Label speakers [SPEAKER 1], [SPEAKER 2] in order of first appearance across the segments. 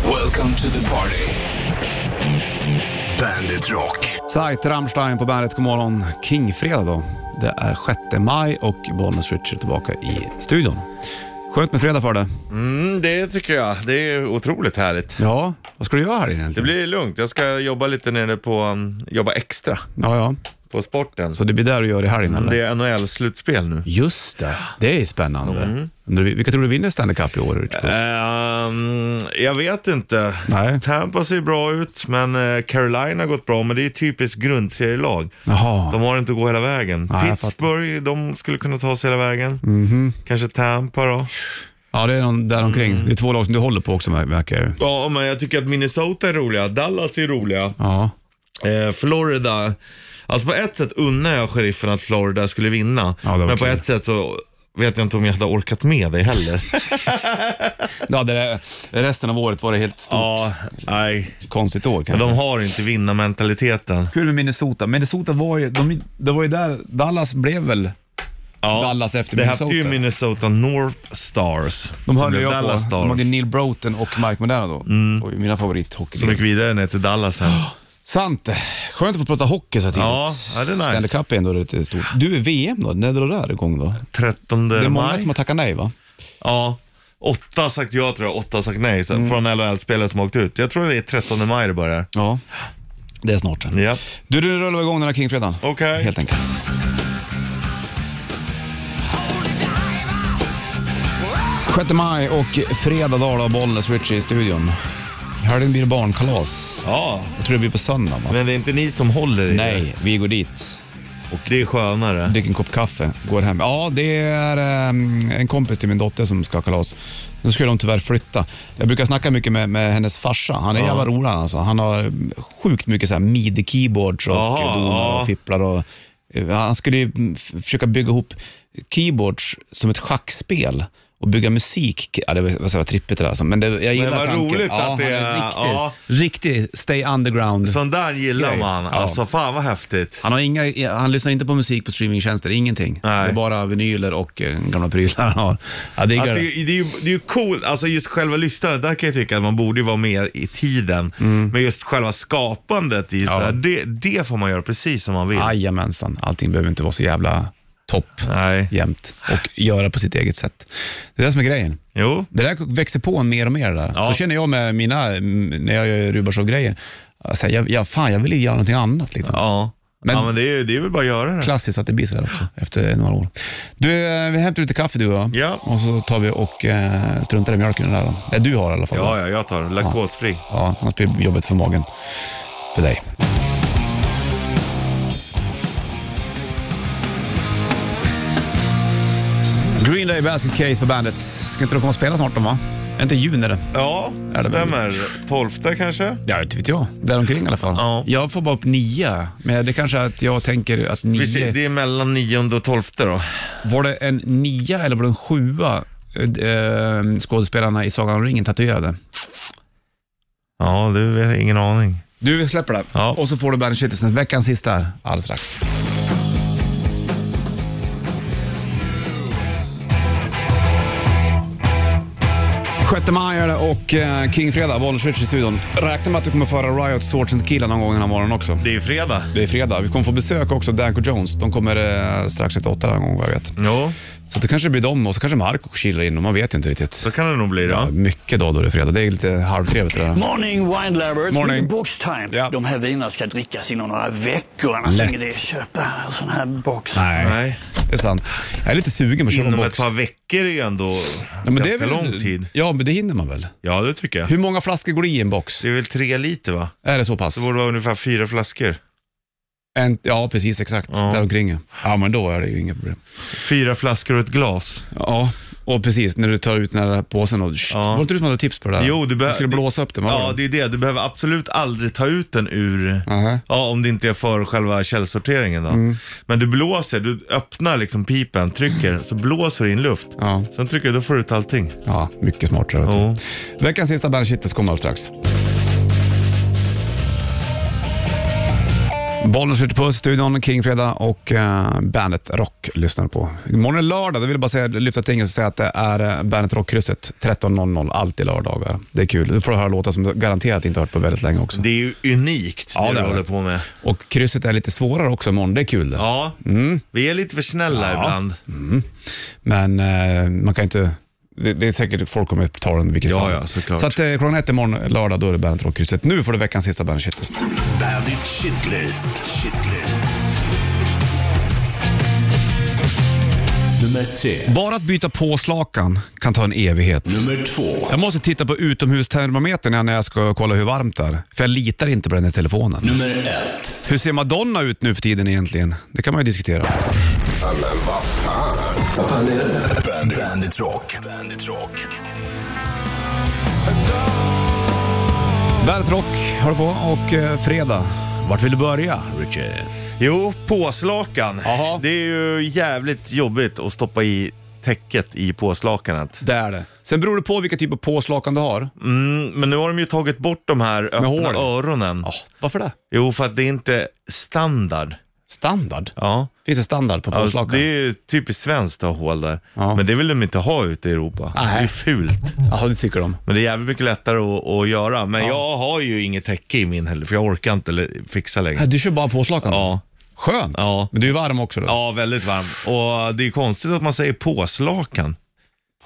[SPEAKER 1] Welcome to the party. Bandit Rock.
[SPEAKER 2] Sajt Rammstein på bandet, god morgon. Kingfredag då. Det är 6 maj och Bollnäs Richard är tillbaka i studion. Skönt med fredag för det.
[SPEAKER 3] Mm, det tycker jag. Det är otroligt härligt.
[SPEAKER 2] Ja, vad ska du göra här inne
[SPEAKER 3] Det
[SPEAKER 2] egentligen?
[SPEAKER 3] blir lugnt. Jag ska jobba lite nere på, um, jobba extra
[SPEAKER 2] Ja, ja.
[SPEAKER 3] på sporten.
[SPEAKER 2] Så det blir där du gör i helgen eller?
[SPEAKER 3] Det är NHL-slutspel nu.
[SPEAKER 2] Just det, Mm. det är spännande. Undrar vi- Vilka tror du vinner Stanley Cup i år? Richard?
[SPEAKER 3] Ehm, jag vet inte.
[SPEAKER 2] Nej.
[SPEAKER 3] Tampa ser bra ut, men eh, Carolina har gått bra, men det är typiskt grundserielag.
[SPEAKER 2] Jaha,
[SPEAKER 3] De har inte att gå hela vägen.
[SPEAKER 2] Nej, jag
[SPEAKER 3] Pittsburgh, de skulle kunna ta sig hela vägen. Kanske Tampa då.
[SPEAKER 2] ja det är någon där omkring. Det är två lag som du håller på också ver- verkar det ju.
[SPEAKER 3] Ja, men jag tycker att Minnesota är roliga. Dallas är roliga.
[SPEAKER 2] Ja,
[SPEAKER 3] Eh, Florida, alltså på ett sätt unnar jag sheriffen att Florida skulle vinna.
[SPEAKER 2] Ja, det var
[SPEAKER 3] men på
[SPEAKER 2] kul.
[SPEAKER 3] ett sätt så vet jag inte om jag hade orkat med det heller.
[SPEAKER 2] ja det där, resten av året var det helt stort,
[SPEAKER 3] ja, nej.
[SPEAKER 2] konstigt år kanske.
[SPEAKER 3] De har inte vinnarmentaliteten.
[SPEAKER 2] Kul med Minnesota. Minnesota var ju, de, det var ju där Dallas blev väl
[SPEAKER 3] Ja,
[SPEAKER 2] Dallas efter
[SPEAKER 3] det hette ju
[SPEAKER 2] Minnesota.
[SPEAKER 3] Minnesota North Stars.
[SPEAKER 2] De
[SPEAKER 3] som
[SPEAKER 2] höll
[SPEAKER 3] blev
[SPEAKER 2] jag
[SPEAKER 3] Dallas
[SPEAKER 2] på. De
[SPEAKER 3] Stars. Mm.
[SPEAKER 2] hade Neil Broughton och Mike Modena då. Oj, mina
[SPEAKER 3] Som
[SPEAKER 2] favorithockeyspelare.
[SPEAKER 3] gick vidare ner till Dallas sen.
[SPEAKER 2] Sant. Skönt att få prata hockey så här tidigt.
[SPEAKER 3] Ja, ja, det är nice.
[SPEAKER 2] Stanley Cup är ändå lite stort. Du, är VM då? När drar det här igång då?
[SPEAKER 3] 13
[SPEAKER 2] Det är många
[SPEAKER 3] maj.
[SPEAKER 2] som har tackat nej va?
[SPEAKER 3] Ja. Åtta har sagt ja tror jag, åtta har sagt nej
[SPEAKER 2] Mm.
[SPEAKER 3] så, från LHL-spelare som har åkt ut. Jag tror det är 13 maj det börjar.
[SPEAKER 2] Ja. Det är snart sen.
[SPEAKER 3] Ja.
[SPEAKER 2] Du, nu rullar vi igång den här Kingfredagen.
[SPEAKER 3] Okej.
[SPEAKER 2] Helt enkelt. Sjätte maj och fredag dag då, Bollnäs Richie i studion. I Helgen blir det barnkalas.
[SPEAKER 3] Ja,
[SPEAKER 2] Jag tror det blir på söndag va?
[SPEAKER 3] men det är inte ni som håller i det.
[SPEAKER 2] Nej, vi går dit.
[SPEAKER 3] Och det är skönare.
[SPEAKER 2] dricker en kopp kaffe, går hem. Ja, det är ehm, en kompis till min dotter som ska ha kalas. Nu skulle de tyvärr flytta. Jag brukar snacka mycket med, med hennes farsa. Han är jävla rolig alltså. Han har sjukt mycket så här midi-keyboards och
[SPEAKER 3] Jaha,
[SPEAKER 2] donar
[SPEAKER 3] ja.
[SPEAKER 2] och fipplar. Och, eh, han skulle ju mm, f- försöka bygga ihop keyboards som ett schackspel och bygga musik. Ja, det var, var så jävla trippigt det där. alltså. Men det, jag gillar
[SPEAKER 3] vad
[SPEAKER 2] tanken.
[SPEAKER 3] roligt
[SPEAKER 2] ja,
[SPEAKER 3] att det
[SPEAKER 2] han
[SPEAKER 3] är-
[SPEAKER 2] Riktig,
[SPEAKER 3] ja.
[SPEAKER 2] riktig stay underground.
[SPEAKER 3] Sån där gillar
[SPEAKER 2] Grej.
[SPEAKER 3] man.
[SPEAKER 2] Ja.
[SPEAKER 3] Alltså fan vad häftigt.
[SPEAKER 2] Han, har inga, han lyssnar inte på musik på streamingtjänster, ingenting.
[SPEAKER 3] Nej.
[SPEAKER 2] Det är bara vinyler och eh, gamla prylar han har. Ja, det är
[SPEAKER 3] Alltså,
[SPEAKER 2] gött.
[SPEAKER 3] det är ju det är ju coolt, alltså just själva lyssnandet, där kan jag tycka att man borde ju vara mer i tiden.
[SPEAKER 2] Mm.
[SPEAKER 3] Men just själva skapandet, i så här, det, det får man göra precis som man vill.
[SPEAKER 2] Jajamensan, allting behöver inte vara så jävla topp
[SPEAKER 3] Nej,
[SPEAKER 2] jämt och göra på sitt eget sätt. Det är det som är grejen.
[SPEAKER 3] jo.
[SPEAKER 2] Det där växer på en mer och mer. det Där.
[SPEAKER 3] Ja.
[SPEAKER 2] Så känner jag med mina, mm, när jag gör Rubarshov-grejer. Alltså, jag, jag, fan, jag vill ju göra någonting annat. Liksom.
[SPEAKER 3] Ja.
[SPEAKER 2] Men-
[SPEAKER 3] Men, ja, men det, är, det är väl bara att göra det.
[SPEAKER 2] Klassiskt att det blir sådär också efter några år. Du, eh, vi hämtar lite kaffe du och jag.
[SPEAKER 3] Ja.
[SPEAKER 2] Och så tar vi och eh, struntar i mjölken i den där. då. Det du har i alla fall.
[SPEAKER 3] Ja, ja, jag tar den. Laktosfri.
[SPEAKER 2] Ja, annars blir det jobbigt för magen. För dig. Green Day Basket Case på bandet. Ska inte de komma och spela snart då va? Är inte i juni eller?
[SPEAKER 3] Ja,
[SPEAKER 2] det väl-
[SPEAKER 3] stämmer. Tolfte kanske?
[SPEAKER 2] Ja, inte vet jag. Däromkring i alla fall.
[SPEAKER 3] Ja.
[SPEAKER 2] Jag får bara upp nio, men det kanske är att jag tänker att nio...
[SPEAKER 3] Vi ser, det är mellan nionde och tolfte då.
[SPEAKER 2] Var det en nia eller var det en sjua eh, eh, skådespelarna i Sagan om ringen tatuerade?
[SPEAKER 3] Ja, du vet ingen aning.
[SPEAKER 2] Du, vi släpper det.
[SPEAKER 3] Ja.
[SPEAKER 2] Och så får du Bandit Shitlisten. Veckans sista här, alldeles strax. Sjätte maj är det och eh, Kingfredag, Bollnäs Ritch i studion. Räkna med att du kommer föra Riot Swords and Tequila någon gång den här morgonen också.
[SPEAKER 3] Det är fredag.
[SPEAKER 2] Det är fredag. Vi kommer få besök också, Danko Jones. De kommer eh, strax efter åtta den här gången vad jag vet.
[SPEAKER 3] Jo,
[SPEAKER 2] Så det kanske blir dem och så kanske Marco kilar in dem. Man vet ju inte riktigt.
[SPEAKER 3] så kan det nog bli då.
[SPEAKER 2] Ja, mycket då då det är fredag. Det är lite halvtrevligt det där.
[SPEAKER 4] Morning wine lovers.
[SPEAKER 2] Morning.
[SPEAKER 4] Mycket boxtime.
[SPEAKER 2] Ja.
[SPEAKER 4] De här vinerna ska drickas inom några veckor. Annars
[SPEAKER 2] Lätt.
[SPEAKER 4] är det att köpa en sån här box.
[SPEAKER 2] Nej,
[SPEAKER 3] Nej.
[SPEAKER 2] det är sant. Jag är lite sugen på att köpa en
[SPEAKER 3] Inom
[SPEAKER 2] box.
[SPEAKER 3] ett par veckor är ju ändå
[SPEAKER 2] Ja, men det
[SPEAKER 3] ganska
[SPEAKER 2] är väl,
[SPEAKER 3] lång tid.
[SPEAKER 2] Ja, men det hinner man väl.
[SPEAKER 3] Ja, det tycker jag.
[SPEAKER 2] Hur många flaskor går det i en box?
[SPEAKER 3] Det är väl tre liter va?
[SPEAKER 2] Är det så pass?
[SPEAKER 3] Det borde vara ungefär fyra flaskor.
[SPEAKER 2] En, ja, precis exakt.
[SPEAKER 3] Ja.
[SPEAKER 2] Däromkring. ja. Ja, men då är det ju inga problem.
[SPEAKER 3] Fyra flaskor och ett glas.
[SPEAKER 2] Ja, och precis när du tar ut den här påsen. Och,
[SPEAKER 3] Ja.
[SPEAKER 2] Var det inte du som hade tips på det där?
[SPEAKER 3] Jo, du behö-
[SPEAKER 2] skulle
[SPEAKER 3] det-
[SPEAKER 2] blåsa upp den, var
[SPEAKER 3] Ja,
[SPEAKER 2] det?
[SPEAKER 3] det är det. Du behöver absolut aldrig ta ut den ur...
[SPEAKER 2] Aha. Mm.
[SPEAKER 3] Ja, om det inte är för själva källsorteringen då. Men du blåser, du öppnar liksom pipen, trycker, så blåser du in luft.
[SPEAKER 2] Ja.
[SPEAKER 3] Sen trycker du, då får du ut allting.
[SPEAKER 2] Ja, mycket smartare. vet du.
[SPEAKER 3] Jo.
[SPEAKER 2] Veckans sista Bandit Shitlist kommer alldeles strax. Bollnäs skjuter på studion, Kingfredag och eh, Bandet Rock lyssnar på. Imorgon är lördag, då vill jag bara säga, lyfta tinget och säga att det är eh, Bandet Rock-krysset 13.00, alltid lördagar. Det är kul. Du får höra låtar som du garanterat inte har hört på väldigt länge också.
[SPEAKER 3] Det är ju unikt
[SPEAKER 2] Ja,
[SPEAKER 3] det
[SPEAKER 2] det
[SPEAKER 3] du
[SPEAKER 2] är det.
[SPEAKER 3] håller på med.
[SPEAKER 2] Och krysset är lite svårare också imorgon, det är kul det.
[SPEAKER 3] Ja,
[SPEAKER 2] Mm.
[SPEAKER 3] vi är lite för snälla ibland.
[SPEAKER 2] Men eh, man kan inte... Det, det är säkert folk kommer att ta den i vilket
[SPEAKER 3] Ja,
[SPEAKER 2] fall.
[SPEAKER 3] ja, såklart.
[SPEAKER 2] Så att, eh, klockan ett imorgon lördag, då är det Bandet Rock-krysset. Nu får du veckans sista Bandet Shitlist.
[SPEAKER 1] Bandit Shitlist. Shitlist. Nummer tre.
[SPEAKER 2] Bara att byta påslakan kan ta en evighet.
[SPEAKER 1] Nummer två.
[SPEAKER 2] Jag måste titta på utomhustermometern innan jag ska kolla hur varmt det är. För jag litar inte på den här telefonen.
[SPEAKER 1] Nummer ett.
[SPEAKER 2] Hur ser Madonna ut nu för tiden egentligen? Det kan man ju diskutera.
[SPEAKER 1] Bandit, Bandit Rock. Bandit Rock.
[SPEAKER 2] Bandet Rock har du på och eh, fredag. Vart vill du börja, Richard?
[SPEAKER 3] Jo, påslakan.
[SPEAKER 2] Jaha.
[SPEAKER 3] Det är ju jävligt jobbigt att stoppa i täcket i påslakanet.
[SPEAKER 2] Det är det. Sen beror det på vilka typ av påslakan du har.
[SPEAKER 3] Mm, men nu har de ju tagit bort de här öppna
[SPEAKER 2] hålen.
[SPEAKER 3] öronen.
[SPEAKER 2] Ja, varför det?
[SPEAKER 3] Jo, för att det är inte standard.
[SPEAKER 2] Standard?
[SPEAKER 3] Ja.
[SPEAKER 2] Finns det standard på
[SPEAKER 3] Alltså,
[SPEAKER 2] påslakan?
[SPEAKER 3] det är ju typiskt svenskt att ha hål där.
[SPEAKER 2] Ja.
[SPEAKER 3] Men det vill de inte ha ute i Europa.
[SPEAKER 2] Nej.
[SPEAKER 3] Det är fult.
[SPEAKER 2] Jaha, det tycker de.
[SPEAKER 3] Men det är jävligt mycket lättare att, att göra. Men jag har ju inget täcke i min heller, för jag orkar inte eller fixa längre.
[SPEAKER 2] Du kör bara påslakan?
[SPEAKER 3] Ja.
[SPEAKER 2] Skönt.
[SPEAKER 3] Ja.
[SPEAKER 2] Men du är varm också då?
[SPEAKER 3] ja, väldigt varmt. Och det är konstigt att man säger påslakan.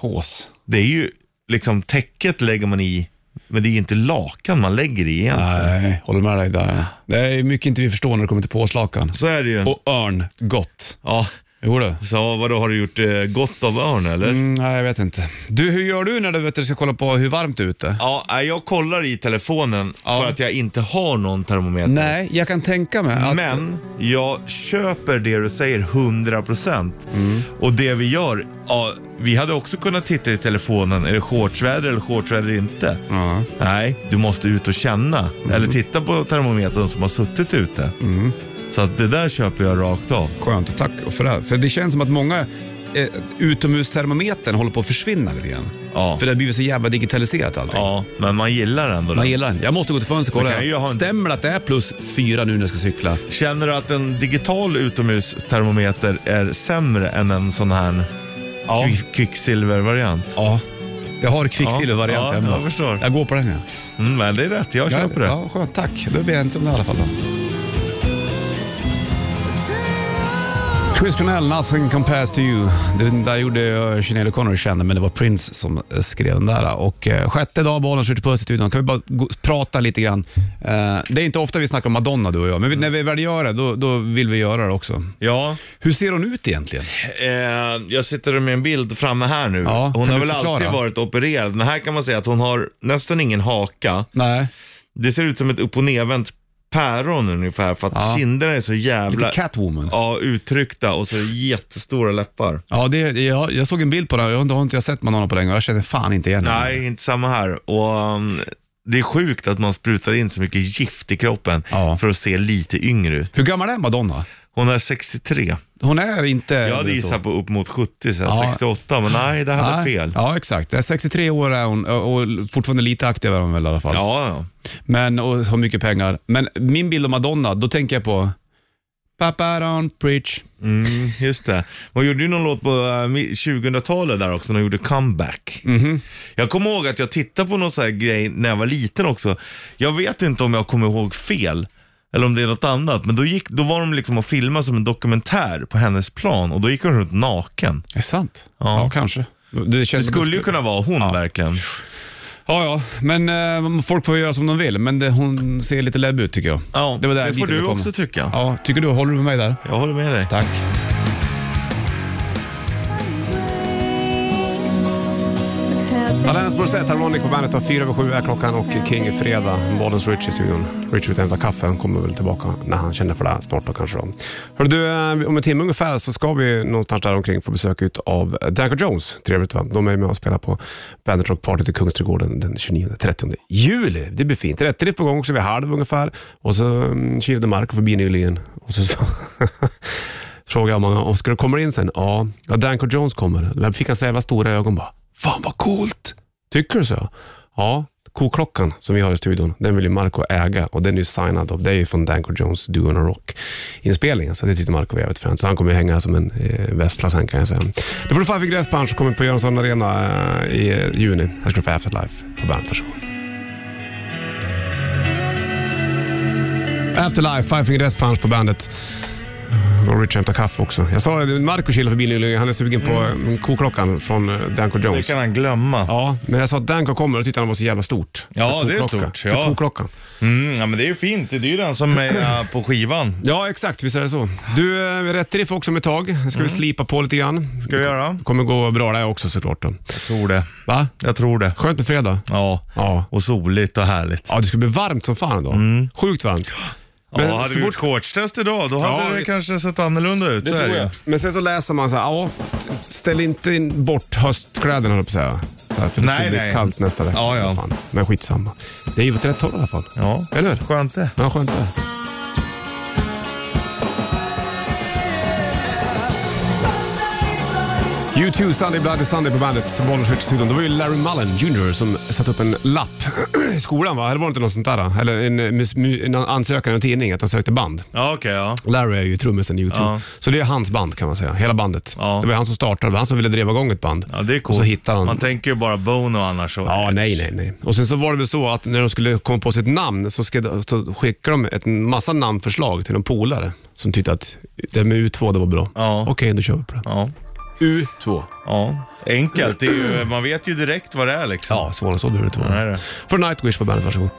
[SPEAKER 2] Pås.
[SPEAKER 3] Det är ju liksom täcket lägger man i, men det är ju inte lakan man lägger i igen.
[SPEAKER 2] Nej, håller med dig där. Det är mycket inte vi förstår när det kommer till påslakan.
[SPEAKER 3] Så är det ju.
[SPEAKER 2] Och örn, gott.
[SPEAKER 3] Ja,
[SPEAKER 2] Jo du.
[SPEAKER 3] så vadå, har du gjort eh, gott av örn eller?
[SPEAKER 2] Mm, nej, jag vet inte. Du, hur gör du när du vet, du ska kolla på hur varmt det är ute?
[SPEAKER 3] Ja, nej, jag kollar i telefonen
[SPEAKER 2] Ja.
[SPEAKER 3] för att jag inte har någon termometer.
[SPEAKER 2] Nej, jag kan tänka mig att...
[SPEAKER 3] Men jag köper det du säger 100%.
[SPEAKER 2] Mm.
[SPEAKER 3] Och det vi gör, ja, vi hade också kunnat titta i telefonen, är det shortsväder eller shortsväder inte?
[SPEAKER 2] Ja.
[SPEAKER 3] Nej, du måste ut och känna.
[SPEAKER 2] Mm.
[SPEAKER 3] Eller titta på termometern som har suttit ute. Så att det där köper jag rakt av.
[SPEAKER 2] Skönt, tack för det. här. För det känns som att många eh, utomhustermometern håller på att försvinna lite grann.
[SPEAKER 3] Ja.
[SPEAKER 2] För det har blivit så jävla digitaliserat allting.
[SPEAKER 3] Ja, men man gillar ändå
[SPEAKER 2] Man
[SPEAKER 3] det.
[SPEAKER 2] gillar den. Jag måste gå till fönstret och
[SPEAKER 3] Du kan ju
[SPEAKER 2] kolla.
[SPEAKER 3] ha en-
[SPEAKER 2] Stämmer det att det är plus fyra nu när jag ska cykla?
[SPEAKER 3] Känner du att en digital utomhustermometer är sämre än en sån här
[SPEAKER 2] Ja.
[SPEAKER 3] kvick- kvicksilvervariant?
[SPEAKER 2] ja. Jag har kvicksilvervariant
[SPEAKER 3] Ja,
[SPEAKER 2] hemma.
[SPEAKER 3] jag förstår.
[SPEAKER 2] Jag går på den ja.
[SPEAKER 3] Mm, men det är rätt, jag köper det.
[SPEAKER 2] Ja, skönt. Tack. Då är vi ensamma i alla fall. Då. Chris Cornell, Nothing Compares To You. Den där gjorde jag Sinéad O'Connor kände, men det var Prince som eh, skrev den där. Och eh, sjätte dag, bollen skjuter på studion. Kan vi bara gå, prata lite grann? Eh, det är inte ofta vi snackar om Madonna du och jag, men vi, när vi väl gör det, då, då vill vi göra det också.
[SPEAKER 3] Ja,
[SPEAKER 2] Hur ser hon ut egentligen?
[SPEAKER 3] eh, jag sitter med en bild framme här nu.
[SPEAKER 2] Ja,
[SPEAKER 3] hon
[SPEAKER 2] kan
[SPEAKER 3] har
[SPEAKER 2] du
[SPEAKER 3] väl
[SPEAKER 2] förklara?
[SPEAKER 3] alltid varit opererad, men här kan man säga att hon har nästan ingen haka.
[SPEAKER 2] Nej,
[SPEAKER 3] Det ser ut som ett upp och nervänt päron ungefär, för att
[SPEAKER 2] Ja.
[SPEAKER 3] kinderna är så jävla
[SPEAKER 2] lite Catwoman.
[SPEAKER 3] ja, uttryckta och så jättestora läppar.
[SPEAKER 2] Ja, det, jag, jag såg en bild på den, jag har inte jag sett Madonna på länge och jag känner fan inte igen henne.
[SPEAKER 3] Nej, inte samma här. Och, um, det är sjukt att man sprutar in så mycket gift i kroppen
[SPEAKER 2] Ja.
[SPEAKER 3] för att se lite yngre ut.
[SPEAKER 2] Hur gammal är Madonna?
[SPEAKER 3] Hon är 63.
[SPEAKER 2] Hon är inte
[SPEAKER 3] Jag
[SPEAKER 2] äldre
[SPEAKER 3] hade
[SPEAKER 2] än
[SPEAKER 3] gissat på upp mot 70, så här,
[SPEAKER 2] Ja.
[SPEAKER 3] 68, men nej, det hade
[SPEAKER 2] Nej.
[SPEAKER 3] fel. Ja,
[SPEAKER 2] Ja, exakt. Eh, 63 år är hon och och fortfarande lite aktiv är hon väl i alla fall.
[SPEAKER 3] ja.
[SPEAKER 2] Men, och har mycket pengar. Men min bild av Madonna, då tänker jag på Papa don't preach.
[SPEAKER 3] Mm, just det. Man gjorde ju någon låt på äh, mi- 2000-talet där också, när de gjorde comeback. Jag kommer ihåg att jag tittade på någon sån här grej när jag var liten också. Jag vet inte om jag kommer ihåg fel, eller om det är något annat, men då, gick, då var de liksom och filmade som en dokumentär på hennes plan och då gick hon runt naken.
[SPEAKER 2] Är det sant?
[SPEAKER 3] Ja.
[SPEAKER 2] kanske. Det, känns
[SPEAKER 3] Det
[SPEAKER 2] som att
[SPEAKER 3] skulle ju kunna vara hon verkligen.
[SPEAKER 2] Ja, ja. Men eh, folk får ju göra som de vill. Men det, hon ser lite läbb ut tycker jag.
[SPEAKER 3] Ja, det,
[SPEAKER 2] var där dit
[SPEAKER 3] får
[SPEAKER 2] jag ville
[SPEAKER 3] du
[SPEAKER 2] komma.
[SPEAKER 3] också tycka.
[SPEAKER 2] Ja, tycker du? Håller du med mig där?
[SPEAKER 3] Jag håller med dig.
[SPEAKER 2] Tack. Alanis Morissette, Harmonic på bandet. och Fyra över sju är klockan och King är fredag. Bollens Rich i studion. Rich vill hämta kaffe. Han kommer väl tillbaka när han känner för det snart då kanske. Då. Hörru du, eh, om en timme ungefär så ska vi någonstans där omkring få besök ut av Danko Jones. Trevligt va? De är med och spelar på Bandet Rock Party i Kungsträdgården den 29-30 juli. Det blir fint. Rätt drift på gång också vid halv ungefär. Och så mm, kilade Marco förbi nyligen. Och så, så frågade jag många, "Och ska du komma in sen? Ja, ja Danko Jones kommer. Då fick han så jävla stora ögon bara, fan vad coolt. Tycker du så? Ja, koklockan som vi har i studion, den vill ju Marco äga och den är ju signad av dig från Danko Jones Do on a Rock-inspelningen. Så det tyckte Marco var jävligt fränt. Så han kommer ju hänga som en eh, västla sen kan jag säga. Det får du Five Finger Death Punch som kommer på Göransson Arena eh, i eh, juni. Här ska du få Afterlife på bandet. Varsågod. Afterlife, Five Finger Death Punch på bandet. Och Rich hämtar kaffe också. Jag sa det, Marco kilade förbi nyligen. Han är sugen på mm. koklockan från eh, Danko
[SPEAKER 3] Det
[SPEAKER 2] Jones.
[SPEAKER 3] kan han glömma.
[SPEAKER 2] Ja, men jag sa att Danko kommer och tyckte han var så jävla stort.
[SPEAKER 3] Ja,
[SPEAKER 2] För
[SPEAKER 3] det är
[SPEAKER 2] koklockan.
[SPEAKER 3] stort, ja.
[SPEAKER 2] För koklockan.
[SPEAKER 3] Mm, ja, men det är ju fint. Det är ju den som är äh, på skivan.
[SPEAKER 2] Ja, exakt. Visst är det så. Du, eh, rätt riff också om ett tag. Nu ska vi
[SPEAKER 3] Mm.
[SPEAKER 2] slipa på lite grann.
[SPEAKER 3] Ska vi göra?
[SPEAKER 2] kommer gå bra där också såklart. Då.
[SPEAKER 3] Jag tror det.
[SPEAKER 2] Va?
[SPEAKER 3] Jag tror det.
[SPEAKER 2] Skönt med fredag.
[SPEAKER 3] Ja.
[SPEAKER 2] Ja.
[SPEAKER 3] Och soligt och härligt.
[SPEAKER 2] Ja, det ska bli varmt som fan idag. Sjukt varmt. Men
[SPEAKER 3] Mm. Ja, hade
[SPEAKER 2] så
[SPEAKER 3] vi
[SPEAKER 2] fort-
[SPEAKER 3] gjort shortstest idag, då
[SPEAKER 2] Ja,
[SPEAKER 3] hade det
[SPEAKER 2] det-
[SPEAKER 3] kanske sett annorlunda ut. så är ju.
[SPEAKER 2] Men sen så läser man så här, ja, ställ inte in bort höstkläderna höll jag på att säga. Så här, för det
[SPEAKER 3] Nej,
[SPEAKER 2] ska bli
[SPEAKER 3] nej.
[SPEAKER 2] kallt nästa vecka.
[SPEAKER 3] Ja, ja.
[SPEAKER 2] Fan. Men skitsamma. Det är ju åt rätt håll i alla fall.
[SPEAKER 3] Ja,
[SPEAKER 2] Eller hur?
[SPEAKER 3] skönt det.
[SPEAKER 2] Ja, skönt det. U2, Sunday Bloody Sunday på bandet, Bollnäs studion. Det var ju Larry Mullen Jr som satte upp en lapp i skolan, va? Eller var det inte något sånt där? Eller en, eh, mus- mu- en ansökan i en tidning att han sökte band.
[SPEAKER 3] Ja, okej. ja.
[SPEAKER 2] Larry är ju trummisen i U2.
[SPEAKER 3] Ja.
[SPEAKER 2] Så det är hans band kan man säga, hela bandet.
[SPEAKER 3] Ja.
[SPEAKER 2] Det var han som startade, det var han som ville driva igång ett band.
[SPEAKER 3] ja, det är coolt.
[SPEAKER 2] Och så hittade han...
[SPEAKER 3] Man tänker ju bara Bono annars. Så.
[SPEAKER 2] Ja, nej, nej, nej. Och sen så var det väl så att när de skulle komma på sitt namn så, sked- så skickade de ett massa namnförslag till någon polare som tyckte att det med U2 det var bra.
[SPEAKER 3] Ja.
[SPEAKER 2] Okej, då kör vi på det.
[SPEAKER 3] Ja,
[SPEAKER 2] U2.
[SPEAKER 3] ja. Enkelt. Det är ju, man vet ju direkt vad det är liksom.
[SPEAKER 2] Ja, svårare än så behöver det inte
[SPEAKER 3] Nej,
[SPEAKER 2] vara.
[SPEAKER 3] det.
[SPEAKER 2] För Nightwish på bandet, varsågod.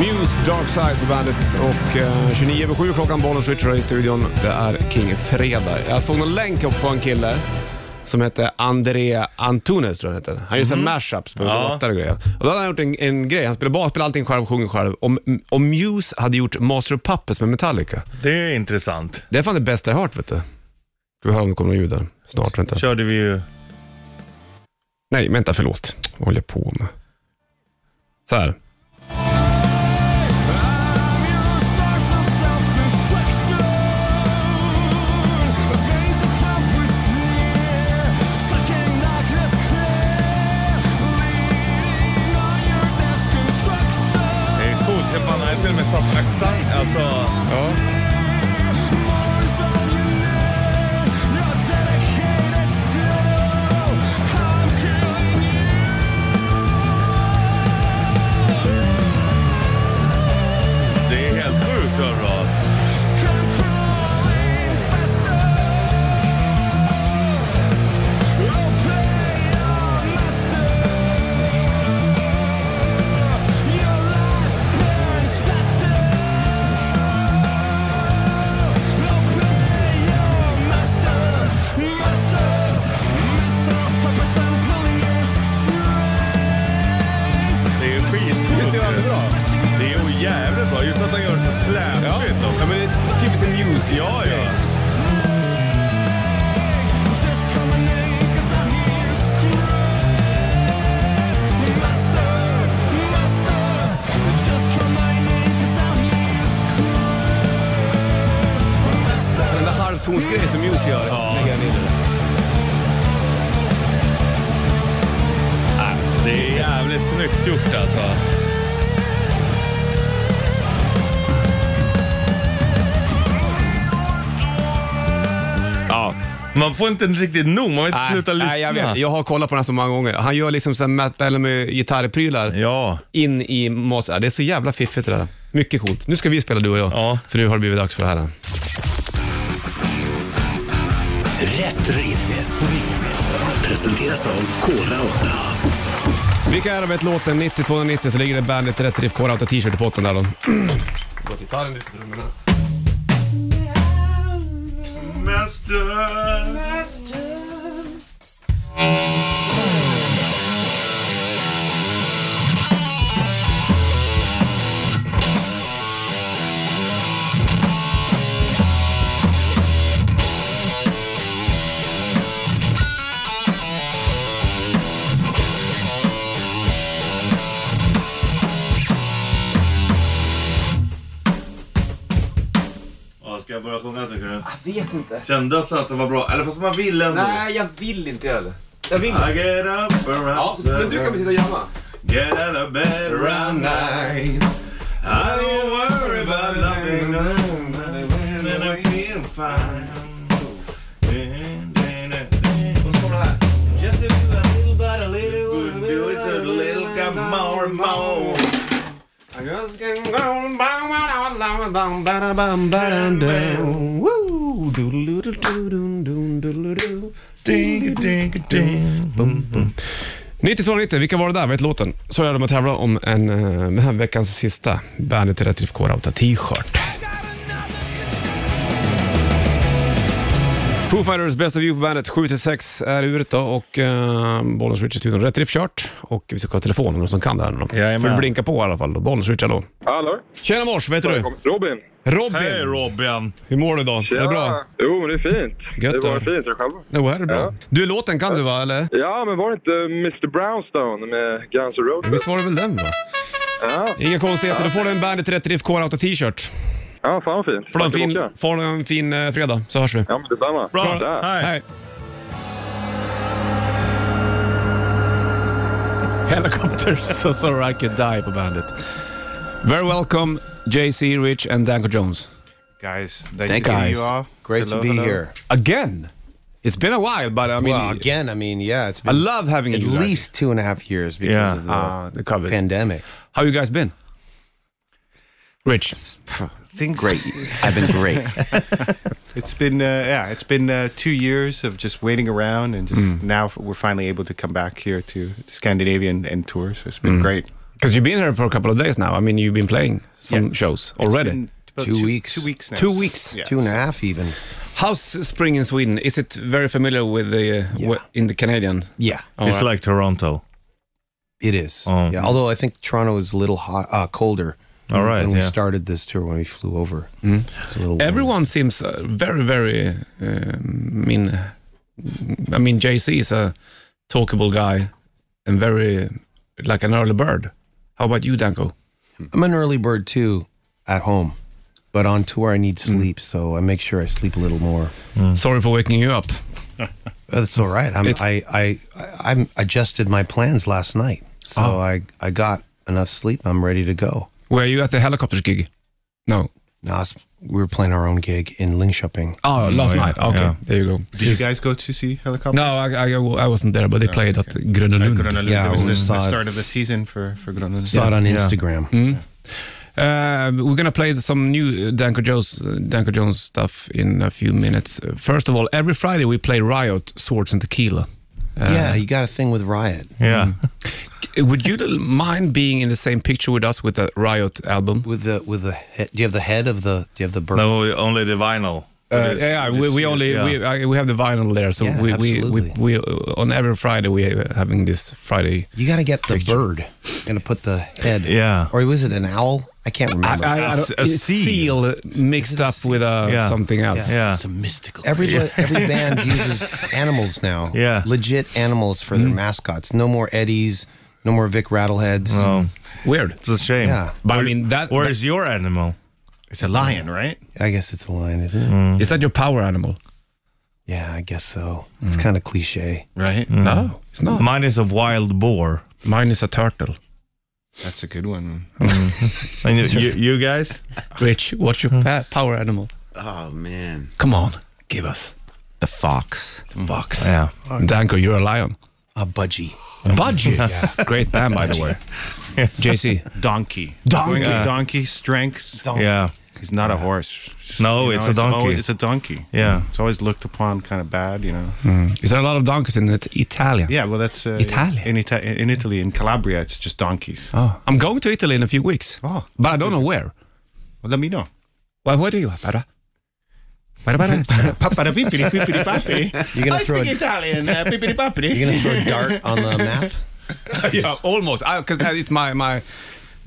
[SPEAKER 2] Muse, Dark Side på bandet och eh, 29 över 7 klockan, Bollnäs Richard i studion. Det är King Fredag. Jag såg en länk upp på en kille som hette André Antunes, tror jag han heter. Han gör mm. mashups på
[SPEAKER 3] Mhm. Ja.
[SPEAKER 2] låtar och grejer. Och då hade han gjort en, en grej. Han spelar bas, spelar allting själv, sjunger själv. Om, om Muse hade gjort Master of Puppets med Metallica.
[SPEAKER 3] Det är intressant.
[SPEAKER 2] Det är fan det bästa jag hört, vet du. Ska vi höra om det kommer några ljud där snart, vänta.
[SPEAKER 3] Körde vi ju...
[SPEAKER 2] Nej, vänta, förlåt. Vad håller jag på med? Så här.
[SPEAKER 3] Det är coolt. Jag fan, jag har till och med satt accent. Alltså... Ja. Det är helt sjukt vad bra. Det är ju skitcoolt.
[SPEAKER 2] Visst är det bra?
[SPEAKER 3] Det är ju jävligt bra. Just att han gör det så släpigt. också.
[SPEAKER 2] men det är typiskt en Muse.
[SPEAKER 3] Ja, ja.
[SPEAKER 2] Den där halvtonsgrejen som Muse gör. Ja.
[SPEAKER 3] Det är jävligt snyggt gjort alltså. Ja. Man får inte riktigt nog, man vill inte sluta lyssna.
[SPEAKER 2] nej, jag, vet. jag har kollat på den här så många gånger. Han gör liksom såhär Matt Bellamy gitarrprylar
[SPEAKER 3] Ja,
[SPEAKER 2] in i mat. Ja, Det är så jävla fiffigt det där. Mycket coolt. Nu ska vi spela du och jag,
[SPEAKER 3] Ja.
[SPEAKER 2] för nu har det blivit dags för det här.
[SPEAKER 5] Rätt riff. Presenteras av Kora 8.
[SPEAKER 2] Vilka är det låten 9290 så ligger det bandet Rätt Riff Core Auto t-shirt i potten där då. Låt gitarren ut i rummen här.
[SPEAKER 3] Ja, ska jag börja sjunga tycker du?
[SPEAKER 2] Jag vet inte.
[SPEAKER 3] Kändes att det var bra? Eller fast man vill ändå.
[SPEAKER 2] Nej, jag vill inte göra det. Jag vill inte.
[SPEAKER 3] I get up around
[SPEAKER 2] Ja, men du kan väl sitta och jamma?
[SPEAKER 3] Get out of bed around nine. I don't worry about nothing. And I feel fine.
[SPEAKER 2] Och så kommer det här. Just do a little but a little,
[SPEAKER 3] Good boys a little got more and more.
[SPEAKER 2] I just can go bam, bam, bam, bam, bam, bam, bam, bam. Woo! Doodle-doodle-doodle, doodle-doodle-doodle.
[SPEAKER 3] Ding, ding, ding. Bum, bum.
[SPEAKER 2] 9290, vilka var det där? Vet låten? Så är det med att tävla om en, eh, den här veckans sista Bandet Rätt Riff K-Rauta t-shirt. Foo Fighters, Best of You på bandet. 7-6 är uret då och uh, Bollnäs Rich i studion. Rätt Riff kört och vi ska ha telefon om någon som kan det här nu då.
[SPEAKER 3] Jajamän.
[SPEAKER 2] Får du blinka på i alla fall då. Bollnäs Rich, hallå.
[SPEAKER 6] Hallå?
[SPEAKER 2] Tjena mors, vet du?
[SPEAKER 6] Välkommen. Robin. Ah,
[SPEAKER 2] Robin,
[SPEAKER 3] Hej Robin!
[SPEAKER 2] hur mår du idag? Är det bra?
[SPEAKER 6] Jo, men det är fint.
[SPEAKER 2] Gött,
[SPEAKER 6] det var
[SPEAKER 2] då.
[SPEAKER 6] fint. Jag själv.
[SPEAKER 2] Jo, här är det bra.
[SPEAKER 6] Ja.
[SPEAKER 2] Du, låten kan du va, eller?
[SPEAKER 6] Ja, men var det inte Mr Brownstone med Guns N' Roses?
[SPEAKER 2] Visst var det väl den va?
[SPEAKER 6] Ja,
[SPEAKER 2] Inga konstigheter, då får du en Bandet Rätt Riff K-Rauta t-shirt.
[SPEAKER 6] ja fan vad fint.
[SPEAKER 2] Får du en
[SPEAKER 6] Tack
[SPEAKER 2] fin,
[SPEAKER 6] och bockar.
[SPEAKER 2] får du en fin eh, fredag, så hörs vi.
[SPEAKER 6] Ja, men detsamma.
[SPEAKER 3] Bra!
[SPEAKER 6] Där.
[SPEAKER 3] Hej!
[SPEAKER 2] Hej. Helicopters, so sorry I could die på bandet. Very welcome JC Rich and Danko Jones.
[SPEAKER 7] guys. Nice
[SPEAKER 8] Thank
[SPEAKER 7] to
[SPEAKER 8] you.
[SPEAKER 7] see
[SPEAKER 8] Guys.
[SPEAKER 7] you all.
[SPEAKER 8] Great
[SPEAKER 7] Hello,
[SPEAKER 8] to be
[SPEAKER 7] hello.
[SPEAKER 8] here.
[SPEAKER 2] Again! It's been a while but I mean,
[SPEAKER 8] well, again, I mean, yeah, it's
[SPEAKER 2] I
[SPEAKER 8] been
[SPEAKER 2] love having
[SPEAKER 8] at
[SPEAKER 2] you guys.
[SPEAKER 8] least two and a half years because
[SPEAKER 3] Yeah.
[SPEAKER 8] of the,
[SPEAKER 2] Ah, the COVID.
[SPEAKER 8] pandemic.
[SPEAKER 2] How you guys been? Rich.
[SPEAKER 7] Things
[SPEAKER 8] Great. I've been great.
[SPEAKER 7] It's been uh, yeah, it's been uh, two years of just waiting around, and just now f- we're finally able to come back here to, to Scandinavia and, and tour. So it's been great.
[SPEAKER 2] Because you've been here for a couple of days now. I mean, you've been playing some
[SPEAKER 7] Yeah.
[SPEAKER 2] shows
[SPEAKER 7] It's
[SPEAKER 2] already.
[SPEAKER 7] been about
[SPEAKER 8] Two weeks.
[SPEAKER 7] Two weeks now.
[SPEAKER 2] Two weeks.
[SPEAKER 7] Yeah.
[SPEAKER 8] Two and a half, even.
[SPEAKER 2] How's spring in Sweden? Is it very familiar with the uh,
[SPEAKER 8] Yeah.
[SPEAKER 2] what, in the Canadian?
[SPEAKER 8] Yeah,
[SPEAKER 2] All
[SPEAKER 3] It's
[SPEAKER 2] right.
[SPEAKER 3] like Toronto.
[SPEAKER 8] it is.
[SPEAKER 3] Oh.
[SPEAKER 8] Yeah, although I think Toronto is a little hot, uh, colder.
[SPEAKER 3] All right,
[SPEAKER 8] When we
[SPEAKER 3] yeah.
[SPEAKER 8] started this tour, when we flew over, It's a little warmer.
[SPEAKER 2] Everyone seems uh, very, very. Uh, I mean, I mean, JC is a talkable guy and very like an early bird. How about you, Danko?
[SPEAKER 8] I'm an early bird too, at home, but on tour I need sleep, so I make sure I sleep a little more.
[SPEAKER 7] Mm.
[SPEAKER 2] Sorry for waking you up.
[SPEAKER 8] That's all right. I'm,
[SPEAKER 2] It's-
[SPEAKER 8] I I I I'm adjusted my plans last night, so
[SPEAKER 2] Oh.
[SPEAKER 8] I I got enough sleep. I'm ready to go.
[SPEAKER 2] Were you at the helicopter gig? No.
[SPEAKER 8] Nas, we were playing our own gig in Linköping.
[SPEAKER 2] Oh, last
[SPEAKER 3] yeah,
[SPEAKER 2] night. Okay,
[SPEAKER 3] yeah.
[SPEAKER 2] there you go.
[SPEAKER 7] Did you guys go to see helicopter?
[SPEAKER 2] No, I, I, I wasn't there, but they played at Gröna
[SPEAKER 7] At
[SPEAKER 2] Lund.
[SPEAKER 7] Grönalund.
[SPEAKER 8] Yeah,
[SPEAKER 7] it was
[SPEAKER 8] we
[SPEAKER 7] the, the
[SPEAKER 8] saw it.
[SPEAKER 7] start of the season for for Grönalund.
[SPEAKER 8] Saw it on
[SPEAKER 3] Yeah. Mm-hmm.
[SPEAKER 8] Instagram.
[SPEAKER 2] Uh, we're gonna play some new uh, Danko Jones, Danko Jones stuff in a few minutes. Uh, First of all, every Friday we play Riot, Swords and Tequila. Uh,
[SPEAKER 8] yeah, you got a thing with Riot.
[SPEAKER 3] Yeah.
[SPEAKER 2] Would you mind being in the same picture with us with a Riot album?
[SPEAKER 8] With the with the he- do you have the head of the do you have the bird?
[SPEAKER 3] No, only the vinyl.
[SPEAKER 2] Uh, yeah, we, we only we, I, we have the vinyl there, so
[SPEAKER 8] Yeah,
[SPEAKER 2] we, we, we
[SPEAKER 8] absolutely.
[SPEAKER 2] we uh, on every Friday we are having this Friday.
[SPEAKER 8] You got to get the bird. You're gonna put the head.
[SPEAKER 3] Yeah.
[SPEAKER 8] Or was it an owl? I can't remember.
[SPEAKER 3] don't- a
[SPEAKER 2] it's seal
[SPEAKER 3] seal.
[SPEAKER 2] mixed up with uh,
[SPEAKER 3] Yeah.
[SPEAKER 2] something else.
[SPEAKER 3] Yeah.
[SPEAKER 8] It's a mystical. Every every band uses animals now.
[SPEAKER 3] Yeah. Mm-hmm.
[SPEAKER 8] legit animals for their mascots. No more Eddies. No more Vic Rattleheads.
[SPEAKER 3] Oh,
[SPEAKER 2] Weird,
[SPEAKER 3] it's a shame.
[SPEAKER 8] Yeah,
[SPEAKER 2] but I mean that
[SPEAKER 3] Where
[SPEAKER 2] that-
[SPEAKER 3] is your animal?
[SPEAKER 7] It's a lion, right?
[SPEAKER 8] I guess it's a line, isn't it?
[SPEAKER 3] Mm.
[SPEAKER 2] is that your power animal?
[SPEAKER 8] Yeah, I guess so.
[SPEAKER 3] Mm.
[SPEAKER 8] It's kind of cliche.
[SPEAKER 7] Right.
[SPEAKER 2] No, it's not.
[SPEAKER 3] Mine is a wild boar.
[SPEAKER 2] Mine is a turtle.
[SPEAKER 7] That's a good one.
[SPEAKER 3] And you, you, you guys?
[SPEAKER 2] Rich, what's your
[SPEAKER 3] Mm.
[SPEAKER 2] pa- power animal?
[SPEAKER 9] Oh man,
[SPEAKER 2] Come on, give us
[SPEAKER 9] the fox.
[SPEAKER 2] the fox.
[SPEAKER 3] Yeah.
[SPEAKER 2] Danko, you're a lion.
[SPEAKER 8] A budgie.
[SPEAKER 2] Budgie, great band by the way. JC,
[SPEAKER 7] Donkey.
[SPEAKER 2] Donkey.
[SPEAKER 7] Going to donkey strength.
[SPEAKER 8] Donkey.
[SPEAKER 3] Yeah.
[SPEAKER 7] He's not a horse.
[SPEAKER 3] No, it's a donkey.
[SPEAKER 7] always- it's a donkey.
[SPEAKER 3] Yeah.
[SPEAKER 7] It's always looked upon kind of bad, you know.
[SPEAKER 2] is there a lot of donkeys in it- Italia?
[SPEAKER 7] Yeah, well, that's uh,
[SPEAKER 2] Italy.
[SPEAKER 7] In, Ita- in Italy, in Calabria, it's just donkeys.
[SPEAKER 2] Oh, I'm going to Italy in a few weeks,
[SPEAKER 7] Oh.
[SPEAKER 2] but I don't know where.
[SPEAKER 7] Well, let me know.
[SPEAKER 2] Well, where do you? Para? Para, para.
[SPEAKER 7] Paparapipiri, pipiripapi.
[SPEAKER 8] You're gonna
[SPEAKER 7] I
[SPEAKER 8] throw a,
[SPEAKER 7] speak Italian. uh, pipiripapiri.
[SPEAKER 8] you're gonna throw a dart on the map.
[SPEAKER 2] yeah, almost. Because it's my my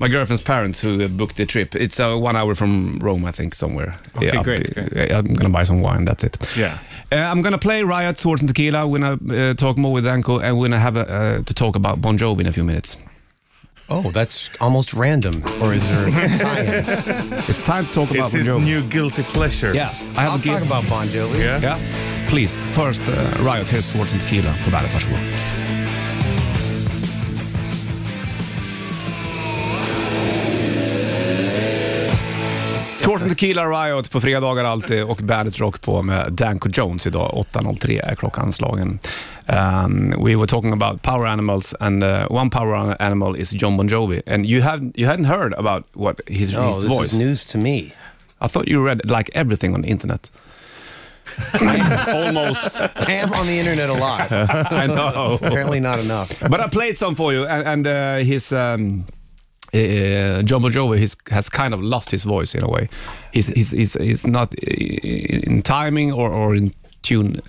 [SPEAKER 2] my girlfriend's parents who uh, booked the trip. It's uh, one hour from Rome, I think, somewhere.
[SPEAKER 7] Okay,
[SPEAKER 2] up-
[SPEAKER 7] great, great.
[SPEAKER 2] uh, I'm gonna buy some wine. That's it.
[SPEAKER 7] Yeah.
[SPEAKER 2] Uh, I'm gonna play Riot, Swords and Tequila. We're gonna uh, talk more with Danko, and we're gonna have a, uh, to talk about Bon Jovi in a few minutes.
[SPEAKER 8] Oh, that's almost random. Or is there a tie-in?
[SPEAKER 2] It's time to talk about
[SPEAKER 3] It's his
[SPEAKER 2] Bon Jovi.
[SPEAKER 3] new guilty pleasure.
[SPEAKER 2] Yeah, I have
[SPEAKER 8] I'll
[SPEAKER 2] a
[SPEAKER 8] talk
[SPEAKER 2] guilt-
[SPEAKER 8] about Bon Jovi.
[SPEAKER 3] Yeah.
[SPEAKER 2] Yeah, please. First, eh, Riot, här är Swords and Tequila på bandet. Varsågod. Swords and Tequila Riot på fredagar alltid och Bandet Rock på med Danko Jones idag. 8.03 är klockan slagen. Um, we were talking about power animals and uh, one power animal is John Bon Jovi. And you, have, you hadn't heard about what his,
[SPEAKER 8] No,
[SPEAKER 2] his
[SPEAKER 8] Oh, this
[SPEAKER 2] voice.
[SPEAKER 8] is news to me.
[SPEAKER 2] I thought you read like everything on the internet. Almost.
[SPEAKER 8] I am on the internet a lot.
[SPEAKER 2] I know.
[SPEAKER 8] Apparently not enough.
[SPEAKER 2] But I played some for you, and, and uh, his um, uh, John Bon Jovi his, has kind of lost his voice in a way. He's he's he's, he's not i- i- in timing or, or in tune.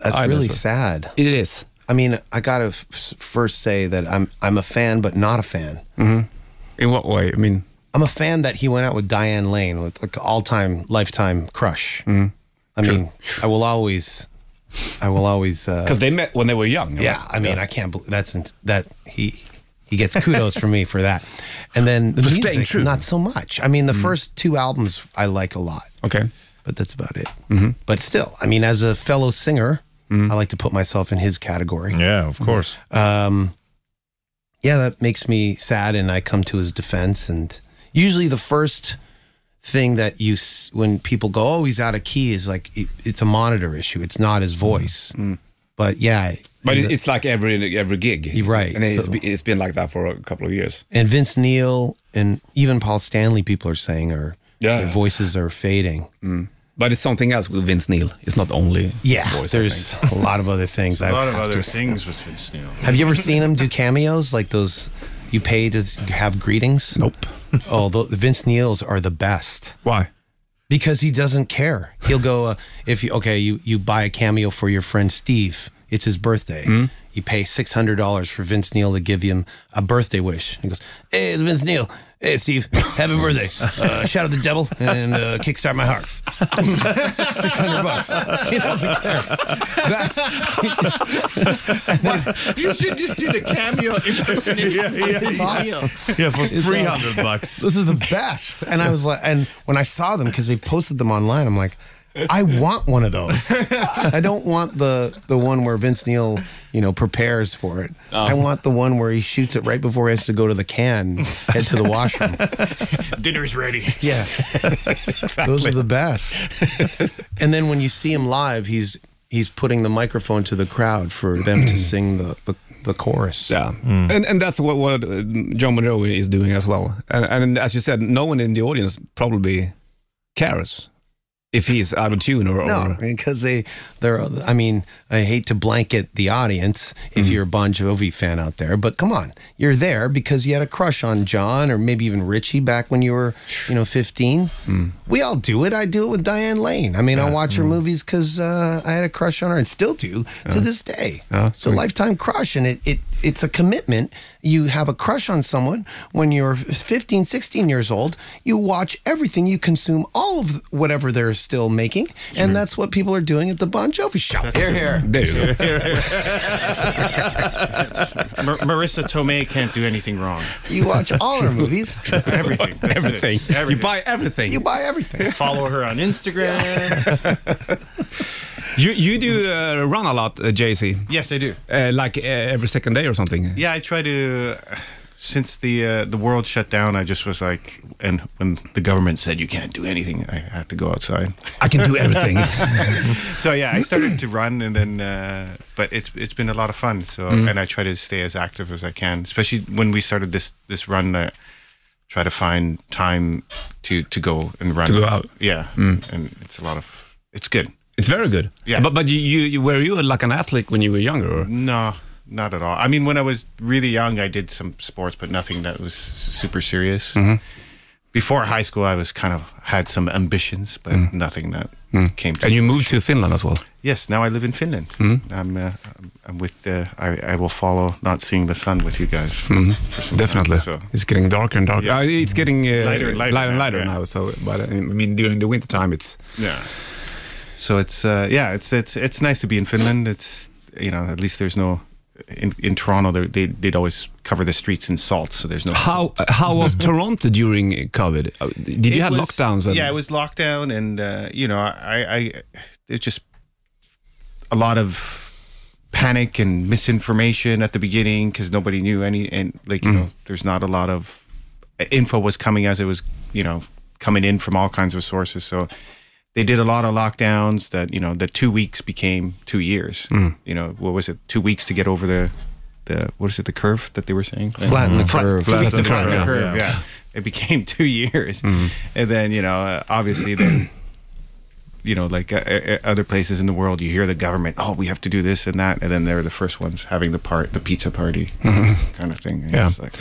[SPEAKER 8] That's
[SPEAKER 2] I
[SPEAKER 8] really
[SPEAKER 2] listen.
[SPEAKER 8] sad.
[SPEAKER 2] It is.
[SPEAKER 8] I mean, I gotta f- first say that I'm I'm a fan, but not a fan.
[SPEAKER 2] In what way? I mean,
[SPEAKER 8] I'm a fan that he went out with Diane Lane, with like all time lifetime crush. I mean, I will always, I will always. Uh,
[SPEAKER 2] because they met when they were young. right?
[SPEAKER 8] yeah, I mean, I can't believe that's in, that he he gets kudos from me for that. And then the
[SPEAKER 2] For staying
[SPEAKER 8] music,
[SPEAKER 2] true. Mm-hmm.
[SPEAKER 8] not so much. I mean, the first two albums I like a lot,
[SPEAKER 2] Okay.
[SPEAKER 8] but that's about it.
[SPEAKER 2] Mm-hmm.
[SPEAKER 8] But still, I mean, as a fellow singer, I like to put myself in his
[SPEAKER 2] Mm-hmm.
[SPEAKER 8] category.
[SPEAKER 3] Yeah, of course.
[SPEAKER 8] um, yeah, that makes me sad, and I come to his defense. And usually, the first thing that you s- when people go, "Oh, he's out of key," is like it, it's a monitor issue. It's not his voice. But yeah,
[SPEAKER 2] Mm-hmm. But
[SPEAKER 8] and,
[SPEAKER 2] it, it's like every every gig,
[SPEAKER 8] You're right,
[SPEAKER 2] And it's,
[SPEAKER 8] so-
[SPEAKER 2] be- it's been like that for a couple of years.
[SPEAKER 8] and Vince Neil and even Paul Stanley, people are saying are
[SPEAKER 2] Yeah.
[SPEAKER 8] their voices are fading.
[SPEAKER 2] But it's something else with Vince Neil. It's not only his
[SPEAKER 8] Yeah,
[SPEAKER 2] voice. I think.
[SPEAKER 8] there's a lot of other things.
[SPEAKER 10] A lot of
[SPEAKER 8] have to
[SPEAKER 10] other
[SPEAKER 8] s-
[SPEAKER 10] things with Vince Neil.
[SPEAKER 8] Have you ever seen him do cameos like those? You pay to s- have greetings.
[SPEAKER 2] Nope.
[SPEAKER 8] Oh, the, the Vince Neils are the best.
[SPEAKER 2] Why?
[SPEAKER 8] Because he doesn't care. He'll go uh, if you okay, you you buy a cameo for your friend Steve. It's his birthday. You pay six hundred dollars for Vince Neil to give him a birthday wish. He goes, "Hey, it's Vince Neil. Hey, Steve, happy birthday! Uh, shout out the devil and uh, kickstart my heart. six hundred bucks. He doesn't care.
[SPEAKER 10] you should just do the cameo impersonation.
[SPEAKER 3] yeah, uh,
[SPEAKER 10] of Vince
[SPEAKER 8] yeah.
[SPEAKER 10] Neil.
[SPEAKER 3] Yeah, for 300 bucks.
[SPEAKER 8] Those are the best. And I was like, and when I saw them because they've posted them online, I'm like, I want one of those. I don't want the the one where Vince Neil, you know, prepares for it. I want the one where he shoots it right before he has to go to the can, head to the washroom.
[SPEAKER 10] Dinner is ready.
[SPEAKER 8] Yeah, those are the best. and then when you see him live, he's he's putting the microphone to the crowd for them to sing the the, the chorus.
[SPEAKER 2] Yeah,
[SPEAKER 7] Mm.
[SPEAKER 2] and and that's what what uh, John Bon Jovi is doing as well. And, and as you said, no one in the audience probably cares if he's out of tune or.
[SPEAKER 8] No,
[SPEAKER 2] or
[SPEAKER 8] because they they're. I mean, I hate to blanket the audience if you're a Bon Jovi fan out there, but come on, you're there because you had a crush on John or maybe even Richie back when you were, you know, 15. We all do it. I do it with Diane Lane. I mean, I watch her movies because uh, I had a crush on her and still do to this day. It's a lifetime crush, and it, it it's a commitment. You have a crush on someone when you're 15, 16 years old. You watch everything. You consume all of whatever they're still making, and that's what people are doing at the Bon Jovi show. Here, here.
[SPEAKER 2] There you go.
[SPEAKER 10] Mar- Marissa Tomei can't do anything wrong.
[SPEAKER 8] You watch all her movies.
[SPEAKER 10] Everything. That's it.
[SPEAKER 2] everything. You
[SPEAKER 10] Everything.
[SPEAKER 2] buy everything.
[SPEAKER 8] You
[SPEAKER 2] You
[SPEAKER 8] buy everything.
[SPEAKER 10] Follow her on Instagram.
[SPEAKER 2] you, do uh, run a lot, uh, JC,
[SPEAKER 7] Yes, I do.
[SPEAKER 2] uh, like uh, every second day or something.
[SPEAKER 7] Yeah, I try to. Since the uh, the world shut down, I just was like, and when the government said you can't do anything, I had to go outside.
[SPEAKER 2] I can do everything.
[SPEAKER 7] So yeah, I started to run, and then uh, but it's it's been a lot of fun. So
[SPEAKER 2] Mm-hmm.
[SPEAKER 7] and I try to stay as active as I can, especially when we started this this run. I try to find time to to go and run.
[SPEAKER 2] To go out. Mm.
[SPEAKER 7] yeah, and it's a lot of it's good.
[SPEAKER 2] it's very good.
[SPEAKER 7] Yeah.
[SPEAKER 2] But but you, you, you were you like an athlete when you were younger? Or?
[SPEAKER 7] No, not at all. I mean, when I was really young, I did some sports, but nothing that was super serious.
[SPEAKER 2] Mm-hmm.
[SPEAKER 7] Before high school, I was kind of had some ambitions, but nothing that came to.
[SPEAKER 2] Mm. And you moved to Finland as well.
[SPEAKER 7] Yes, now I live in Finland. I'm, uh, I'm- I'm with. Uh, I, I will follow not seeing the sun with you guys.
[SPEAKER 2] Definitely.
[SPEAKER 7] So-
[SPEAKER 2] It's getting darker and darker.
[SPEAKER 7] Yeah.
[SPEAKER 2] Uh, it's getting uh,
[SPEAKER 7] Lighter and lighter
[SPEAKER 2] and
[SPEAKER 7] now,
[SPEAKER 2] lighter
[SPEAKER 7] yeah.
[SPEAKER 2] now. So, but uh, I mean, during the winter time, it's
[SPEAKER 7] Yeah. So it's uh, yeah, it's it's it's nice to be in Finland. It's you know at least there's no in, in Toronto, they- they, they'd always cover the streets in salt, so there's no.
[SPEAKER 2] How how was Toronto during COVID? Uh, Did you
[SPEAKER 7] It
[SPEAKER 2] have
[SPEAKER 7] was-
[SPEAKER 2] lockdowns? and-
[SPEAKER 7] yeah, it was lockdown, and uh, you know, I, I, it's just a lot of panic and misinformation at the beginning because nobody knew any, and like you
[SPEAKER 2] Mm-hmm.
[SPEAKER 7] know, there's not a lot of uh, info was coming as it was, you know, coming in from all kinds of sources. So they did a lot of lockdowns that you know, the two weeks became two years.
[SPEAKER 2] Mm.
[SPEAKER 7] You know, what was it? Two weeks to get over the. The, what is it? The curve that they were saying?
[SPEAKER 8] Flatten the curve.
[SPEAKER 7] Flatten,
[SPEAKER 8] Flatten
[SPEAKER 7] the,
[SPEAKER 8] the
[SPEAKER 7] curve.
[SPEAKER 8] curve,
[SPEAKER 7] curve,
[SPEAKER 8] yeah.
[SPEAKER 7] yeah. It became two years, and then you know, uh, obviously, then you know, like uh, uh, other places in the world, you hear the government, oh, we have to do this and that, and then they're the first ones having the part, the pizza party, kind of thing. And
[SPEAKER 2] Yeah.
[SPEAKER 7] it's like-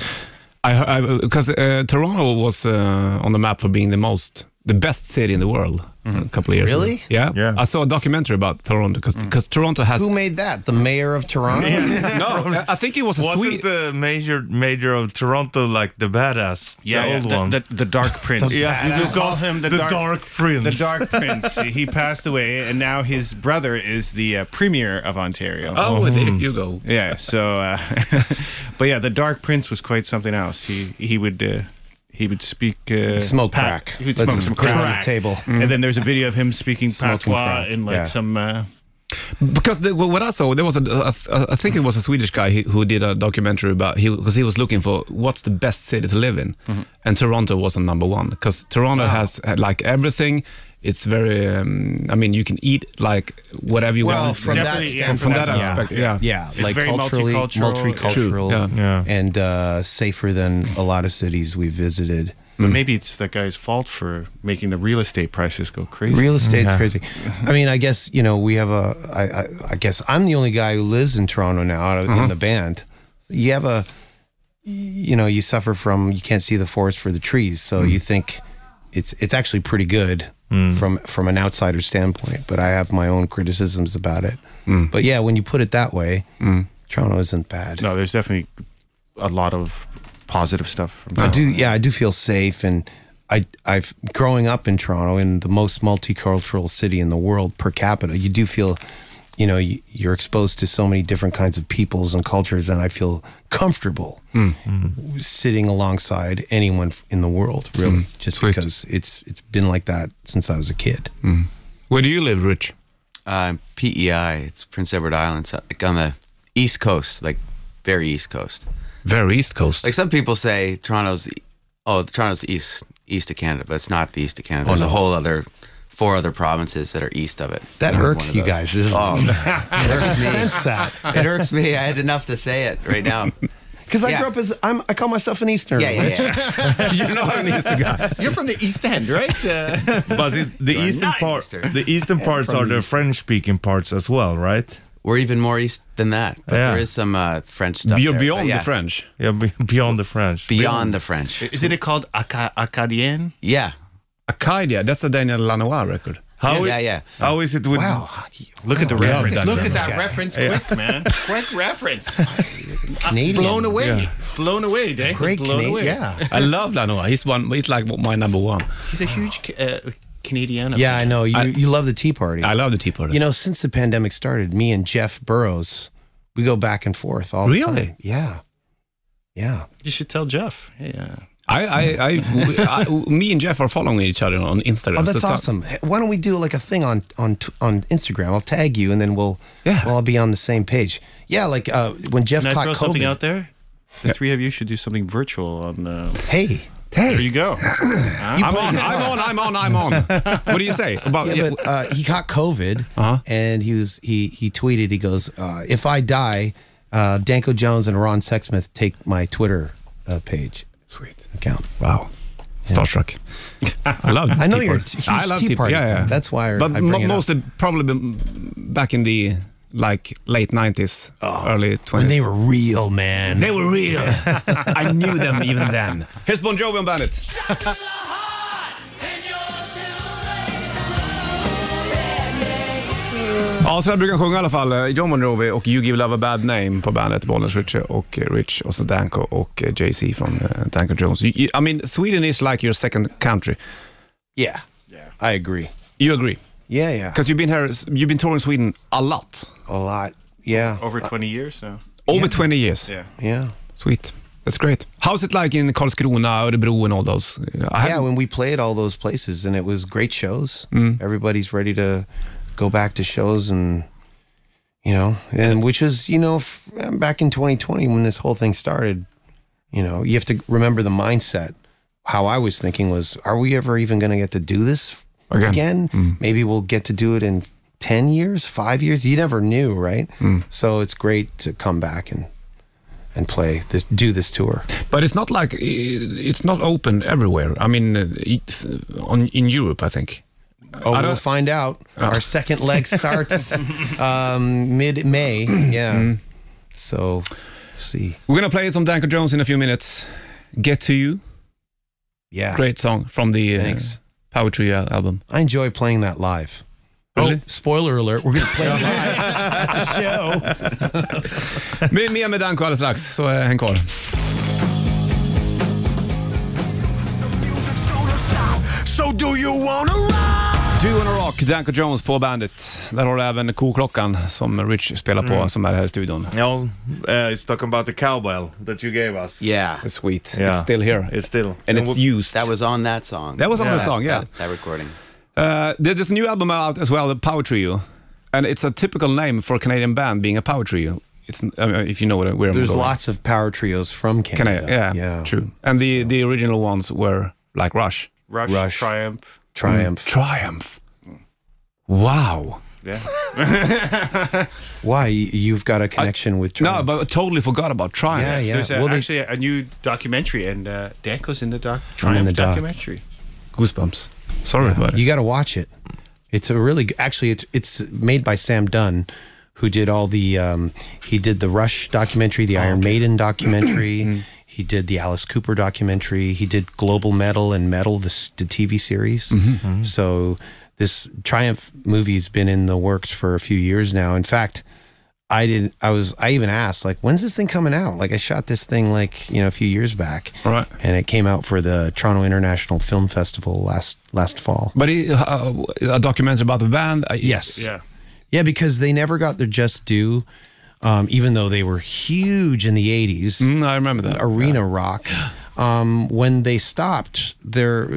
[SPEAKER 7] uh,
[SPEAKER 2] I because uh, Toronto was uh, on the map for being the most the best city in the world uh,
[SPEAKER 7] Mm-hmm.
[SPEAKER 2] a couple of years.
[SPEAKER 8] Really?
[SPEAKER 2] Ago. Yeah.
[SPEAKER 3] Yeah.
[SPEAKER 2] I saw a documentary about Toronto because
[SPEAKER 7] Mm.
[SPEAKER 2] Toronto has
[SPEAKER 8] Who made that? The mayor of Toronto?
[SPEAKER 2] no. I think it was a
[SPEAKER 3] Wasn't
[SPEAKER 2] Swede.
[SPEAKER 3] the major major of Toronto like the badass?
[SPEAKER 7] yeah,
[SPEAKER 3] the
[SPEAKER 7] yeah,
[SPEAKER 3] old
[SPEAKER 7] the,
[SPEAKER 3] one.
[SPEAKER 7] The, the Dark Prince.
[SPEAKER 3] Yeah, you
[SPEAKER 7] you
[SPEAKER 3] could
[SPEAKER 7] could call him the,
[SPEAKER 3] the
[SPEAKER 7] dark,
[SPEAKER 3] Dark Prince.
[SPEAKER 7] The Dark Prince. he passed away, and now his brother is the uh, premier of Ontario.
[SPEAKER 2] oh, there you go.
[SPEAKER 7] yeah. So, uh, but yeah, the Dark Prince was quite something else. He he would uh, he would speak uh,
[SPEAKER 8] Smoke
[SPEAKER 7] Pa-
[SPEAKER 8] crack.
[SPEAKER 7] He would
[SPEAKER 8] Let's
[SPEAKER 7] smoke some
[SPEAKER 8] get on
[SPEAKER 7] crack.
[SPEAKER 8] the table.
[SPEAKER 7] And then there's a video of him speaking
[SPEAKER 8] Smoking
[SPEAKER 7] patois
[SPEAKER 8] crack,
[SPEAKER 7] in like
[SPEAKER 8] yeah.
[SPEAKER 7] some. Uh,
[SPEAKER 2] Because the, wh- what I saw, there was a, a, a, I think it was a Swedish guy who, who did a documentary about he because he was looking for what's the best city to live in,
[SPEAKER 8] Mm-hmm.
[SPEAKER 2] and Toronto was on number one because Toronto has uh, like everything. It's very, um, I mean, you can eat like whatever you
[SPEAKER 8] Well,
[SPEAKER 2] want.
[SPEAKER 8] from that
[SPEAKER 7] Definitely, yeah,
[SPEAKER 8] standpoint,
[SPEAKER 2] from that
[SPEAKER 8] yeah.
[SPEAKER 2] aspect, yeah.
[SPEAKER 8] Yeah,
[SPEAKER 7] It's
[SPEAKER 8] like
[SPEAKER 7] very
[SPEAKER 8] culturally,
[SPEAKER 7] multicultural.
[SPEAKER 8] multicultural,
[SPEAKER 2] Yeah.
[SPEAKER 3] Yeah.
[SPEAKER 8] and uh, safer than a lot of cities we visited.
[SPEAKER 7] but maybe it's that guy's fault for making the real estate prices go crazy. Mm, Mm-hmm.
[SPEAKER 8] Real estate's crazy. I mean, I guess you know we have a. I, I, I guess I'm the only guy who lives in Toronto now out of-
[SPEAKER 7] Uh-huh.
[SPEAKER 8] in the band. So you have a, you know, you suffer from you can't see the forest for the trees, so
[SPEAKER 7] Mm.
[SPEAKER 8] you think it's it's actually pretty good from from an outsider standpoint. But I have my own criticisms about it. But yeah, when you put it that way, Toronto isn't bad.
[SPEAKER 7] Mm. no, there's definitely a lot of positive stuff. From
[SPEAKER 8] I
[SPEAKER 7] that.
[SPEAKER 11] Oh.
[SPEAKER 8] do. Yeah, I do feel safe, and I, I've growing up in Toronto, in the most multicultural city in the world per capita. You do feel, you know, you, you're exposed to so many different kinds of peoples and cultures, and I feel comfortable
[SPEAKER 11] Hmm.
[SPEAKER 8] sitting alongside anyone f- in the world,
[SPEAKER 11] Hmm.
[SPEAKER 8] really, just because it's it's been like that since I was a kid.
[SPEAKER 11] Hmm.
[SPEAKER 2] Where do you live, Rich?
[SPEAKER 11] Uh, PEI, it's Prince Edward Island, so- like on the east coast, like very east coast.
[SPEAKER 2] Very East Coast.
[SPEAKER 11] Like some people say, Toronto's oh, Toronto's the east east of Canada, but it's not the east of Canada. There's a whole other four other provinces that are east of it.
[SPEAKER 8] That
[SPEAKER 11] I'm
[SPEAKER 8] irks
[SPEAKER 11] one of
[SPEAKER 8] you
[SPEAKER 11] those.
[SPEAKER 8] guys, doesn't
[SPEAKER 11] Oh, it irks me.
[SPEAKER 8] that
[SPEAKER 11] It irks me. I had enough to say it right now.
[SPEAKER 8] because I
[SPEAKER 11] Yeah.
[SPEAKER 8] grew up as I'm, I call myself an Easterner.
[SPEAKER 11] Yeah, yeah,
[SPEAKER 8] right?
[SPEAKER 11] yeah.
[SPEAKER 2] you know I'm an East guy.
[SPEAKER 12] You're from the East End, right? Uh,
[SPEAKER 3] but it, the eastern
[SPEAKER 11] not
[SPEAKER 3] part,
[SPEAKER 11] Eastern.
[SPEAKER 3] the eastern parts are the French-speaking parts as well, right?
[SPEAKER 11] We're even more east than that, but
[SPEAKER 3] Yeah.
[SPEAKER 11] there is some uh, French stuff. there,
[SPEAKER 2] You're
[SPEAKER 11] but
[SPEAKER 2] beyond
[SPEAKER 11] yeah,
[SPEAKER 2] the French.
[SPEAKER 3] Yeah, be- beyond the French.
[SPEAKER 11] Beyond the French.
[SPEAKER 7] Isn't it called Aca- Acadienne?
[SPEAKER 11] Yeah.
[SPEAKER 2] Acadia, that's a Daniel Lanois record.
[SPEAKER 3] How
[SPEAKER 11] Yeah,
[SPEAKER 3] i-
[SPEAKER 11] yeah, yeah.
[SPEAKER 3] How is it with?
[SPEAKER 8] Wow,
[SPEAKER 3] Look at the reference.
[SPEAKER 12] Look at that reference quick, man. Quick reference.
[SPEAKER 8] Canadian,
[SPEAKER 12] Blown away. Blown away, Dave.
[SPEAKER 8] great
[SPEAKER 12] Blown
[SPEAKER 8] Canadian,
[SPEAKER 12] away.
[SPEAKER 8] yeah.
[SPEAKER 2] I love Lanois. He's one. He's like my number one.
[SPEAKER 12] He's a huge ca- uh, Canadian.
[SPEAKER 8] Yeah, I know. You,
[SPEAKER 2] I-
[SPEAKER 8] you love the Tea Party.
[SPEAKER 2] I love the Tea Party.
[SPEAKER 8] You know, since the pandemic started, me and Jeff Burrows, we go back and forth all the
[SPEAKER 2] Really?
[SPEAKER 8] time. Yeah. Yeah.
[SPEAKER 12] You should tell Jeff. Hey, uh,
[SPEAKER 2] I, I, I, I, me and Jeff are following each other on Instagram. so
[SPEAKER 8] Oh, that's
[SPEAKER 2] it's not-
[SPEAKER 8] awesome. Hey, Why don't we do like a thing on on t- on Instagram? I'll tag you, and then we'll
[SPEAKER 2] Yeah.
[SPEAKER 8] we'll all be on the same page. Yeah, like uh, when Jeff
[SPEAKER 7] Can I
[SPEAKER 8] caught
[SPEAKER 7] throw something
[SPEAKER 8] COVID.
[SPEAKER 7] out there? The three of you should do something virtual on the.
[SPEAKER 8] Hey,
[SPEAKER 2] Hey,
[SPEAKER 7] There you go.
[SPEAKER 2] I'm on, I'm on, I'm on, I'm on. What do you say about?
[SPEAKER 8] yeah, but uh, he caught COVID,
[SPEAKER 2] Uh-huh.
[SPEAKER 8] and he was he he tweeted. He goes, uh, "If I die, uh, Danko Jones and Ron Sexsmith take my Twitter uh, page
[SPEAKER 2] Sweet.
[SPEAKER 8] account."
[SPEAKER 2] Wow. Star Trek. I love.
[SPEAKER 8] I know
[SPEAKER 2] Tea
[SPEAKER 8] you're a
[SPEAKER 2] Party.
[SPEAKER 8] huge
[SPEAKER 2] I love
[SPEAKER 8] Tea
[SPEAKER 2] Tea
[SPEAKER 8] Party
[SPEAKER 2] Yeah, yeah.
[SPEAKER 8] fan. That's why I-
[SPEAKER 2] But
[SPEAKER 8] I bring it up.
[SPEAKER 2] mostly probably been back in the like late nineties, early twenties.
[SPEAKER 8] And Oh. they were real, man.
[SPEAKER 2] They were real. I knew them even then. Here's Bon Jovi and Bandit. Ja, så där brukar han sjunga i alla fall. Eh, John Bon Jovi och You Give Love A Bad Name på bandet. Bollnäs, Richie och eh, Rich och så Danko och eh, Jay-Z från eh, Danko Jones. You, you, I mean, Sweden is like your second country.
[SPEAKER 8] Yeah. Yeah. I agree.
[SPEAKER 2] You agree?
[SPEAKER 8] Yeah, yeah.
[SPEAKER 2] Because you've been here, you've been touring Sweden a lot.
[SPEAKER 7] Oh.
[SPEAKER 8] A lot. Yeah.
[SPEAKER 7] Over 20 years now.
[SPEAKER 2] Over 20 years.
[SPEAKER 7] Yeah.
[SPEAKER 8] Yeah.
[SPEAKER 2] Sweet. That's great. How's it like in Karlskrona, Örebro and all those? I
[SPEAKER 8] yeah, when we played all those places, and it was great shows.
[SPEAKER 2] Mm.
[SPEAKER 8] Everybody's ready to go back to shows, and you know, and which is you know, f- back in 2020 when this whole thing started, you know, you have to remember the mindset. How I was thinking was, are we ever even going to get to do this again?
[SPEAKER 2] Again. Mm.
[SPEAKER 8] Maybe we'll get to do it in 10 years, five years. You never knew, right?
[SPEAKER 2] Mm.
[SPEAKER 8] So it's great to come back and and play this, do this tour.
[SPEAKER 13] But it's not like it's not open everywhere. I mean, uh, it- on in Europe, I think. I
[SPEAKER 8] Oh, we'll
[SPEAKER 13] don't-
[SPEAKER 8] find out.
[SPEAKER 2] Oh.
[SPEAKER 8] Our second leg starts um, mid May. Yeah.
[SPEAKER 2] Mm.
[SPEAKER 8] So, see.
[SPEAKER 2] We're going to play some Danko Jones in a few minutes. Get to You.
[SPEAKER 8] Yeah.
[SPEAKER 2] Great song from the uh,
[SPEAKER 8] Thanks.
[SPEAKER 2] Power Trio al- album.
[SPEAKER 8] I enjoy playing that live.
[SPEAKER 2] Really?
[SPEAKER 8] Oh, spoiler alert. We're going to play it live.
[SPEAKER 2] Med- Mer med Danko alldeles strax, så eh, häng kvar.
[SPEAKER 1] So do you wanna rock?
[SPEAKER 2] Du on a Rock, Danko Jones på bandet. Där har du även Koklockan som Rich spelar på, som är här i studion.
[SPEAKER 3] Yeah, uh, it's talking about the cowbell that you gave us.
[SPEAKER 14] Yeah.
[SPEAKER 2] Ah. It's sweet.
[SPEAKER 3] Yeah.
[SPEAKER 2] It's still here.
[SPEAKER 3] It's still.
[SPEAKER 2] And it's used.
[SPEAKER 14] That was on that song.
[SPEAKER 2] That was on the
[SPEAKER 3] Yeah.
[SPEAKER 2] song, yeah.
[SPEAKER 14] that, that recording.
[SPEAKER 2] Uh, there- there's a new album out as well, the Power Trio, and it's a typical name for a Canadian band being a power trio. It's I mean, if you know what where I'm
[SPEAKER 8] There's
[SPEAKER 2] going.
[SPEAKER 8] lots of power trios from
[SPEAKER 2] Can I-
[SPEAKER 8] Canada.
[SPEAKER 2] yeah, true. And the the original ones were like Rush,
[SPEAKER 7] Rush,
[SPEAKER 8] Rush.
[SPEAKER 7] Triumph.
[SPEAKER 8] Triumph.
[SPEAKER 2] Triumph. Wow.
[SPEAKER 7] Yeah.
[SPEAKER 8] Why? You've got a connection with
[SPEAKER 2] Mm. No,
[SPEAKER 8] Triumph.
[SPEAKER 2] but I totally forgot about Triumph.
[SPEAKER 8] yeah, yeah.
[SPEAKER 7] There's a,
[SPEAKER 8] well, they-
[SPEAKER 7] actually a new documentary, and uh, Danko's in the doc.
[SPEAKER 8] I'm
[SPEAKER 7] Triumph
[SPEAKER 8] in the doc.
[SPEAKER 7] documentary.
[SPEAKER 2] Goosebumps. Sorry about it.
[SPEAKER 8] You got to watch it. It's a really g- actually it's it's made by Sam Dunn, who did all the um, he did the Rush documentary,
[SPEAKER 2] Oh,
[SPEAKER 8] the Iron Maiden
[SPEAKER 2] Mm-hmm.
[SPEAKER 8] documentary. he did the Alice Cooper documentary. He did Global Metal and Metal, the, s- the TV series.
[SPEAKER 2] Mm-hmm.
[SPEAKER 8] So this Triumph movie's been in the works for a few years now. In fact. I did. I was. I even asked, like, when's this thing coming out? Like, I shot this thing, like, you know, a few years back,
[SPEAKER 2] All right.
[SPEAKER 8] and it came out for the Toronto International Film Festival last last fall.
[SPEAKER 2] But it, uh, a documentary about the band. uh, I-
[SPEAKER 8] Yes.
[SPEAKER 7] Yeah.
[SPEAKER 8] Yeah, because they never got their just due, um, even though they were huge in the 80s,
[SPEAKER 2] Mm, I remember that.
[SPEAKER 8] arena rock. Um, when they stopped, their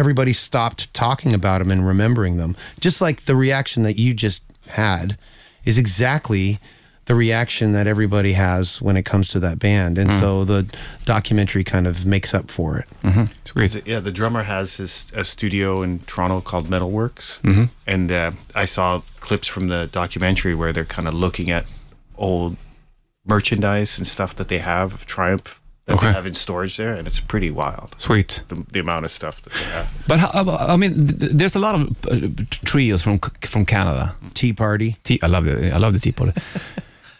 [SPEAKER 8] everybody stopped talking about them and remembering them. Just like the reaction that you just had is exactly the reaction that everybody has when it comes to that band, and so the documentary kind of makes up for it.
[SPEAKER 7] Is it- yeah, the drummer has his a studio in Toronto called Metalworks, and uh, I saw clips from the documentary where they're kind of looking at old merchandise and stuff that they have of Triumph that
[SPEAKER 2] Okay.
[SPEAKER 7] they have in storage there, and it's pretty wild
[SPEAKER 2] Sweet.
[SPEAKER 7] the, the amount of stuff that they have.
[SPEAKER 2] But how, I mean, th- th- there's a lot of uh, trios from c- from Canada.
[SPEAKER 8] Tea party.
[SPEAKER 2] Tea, I love the I love the tea party.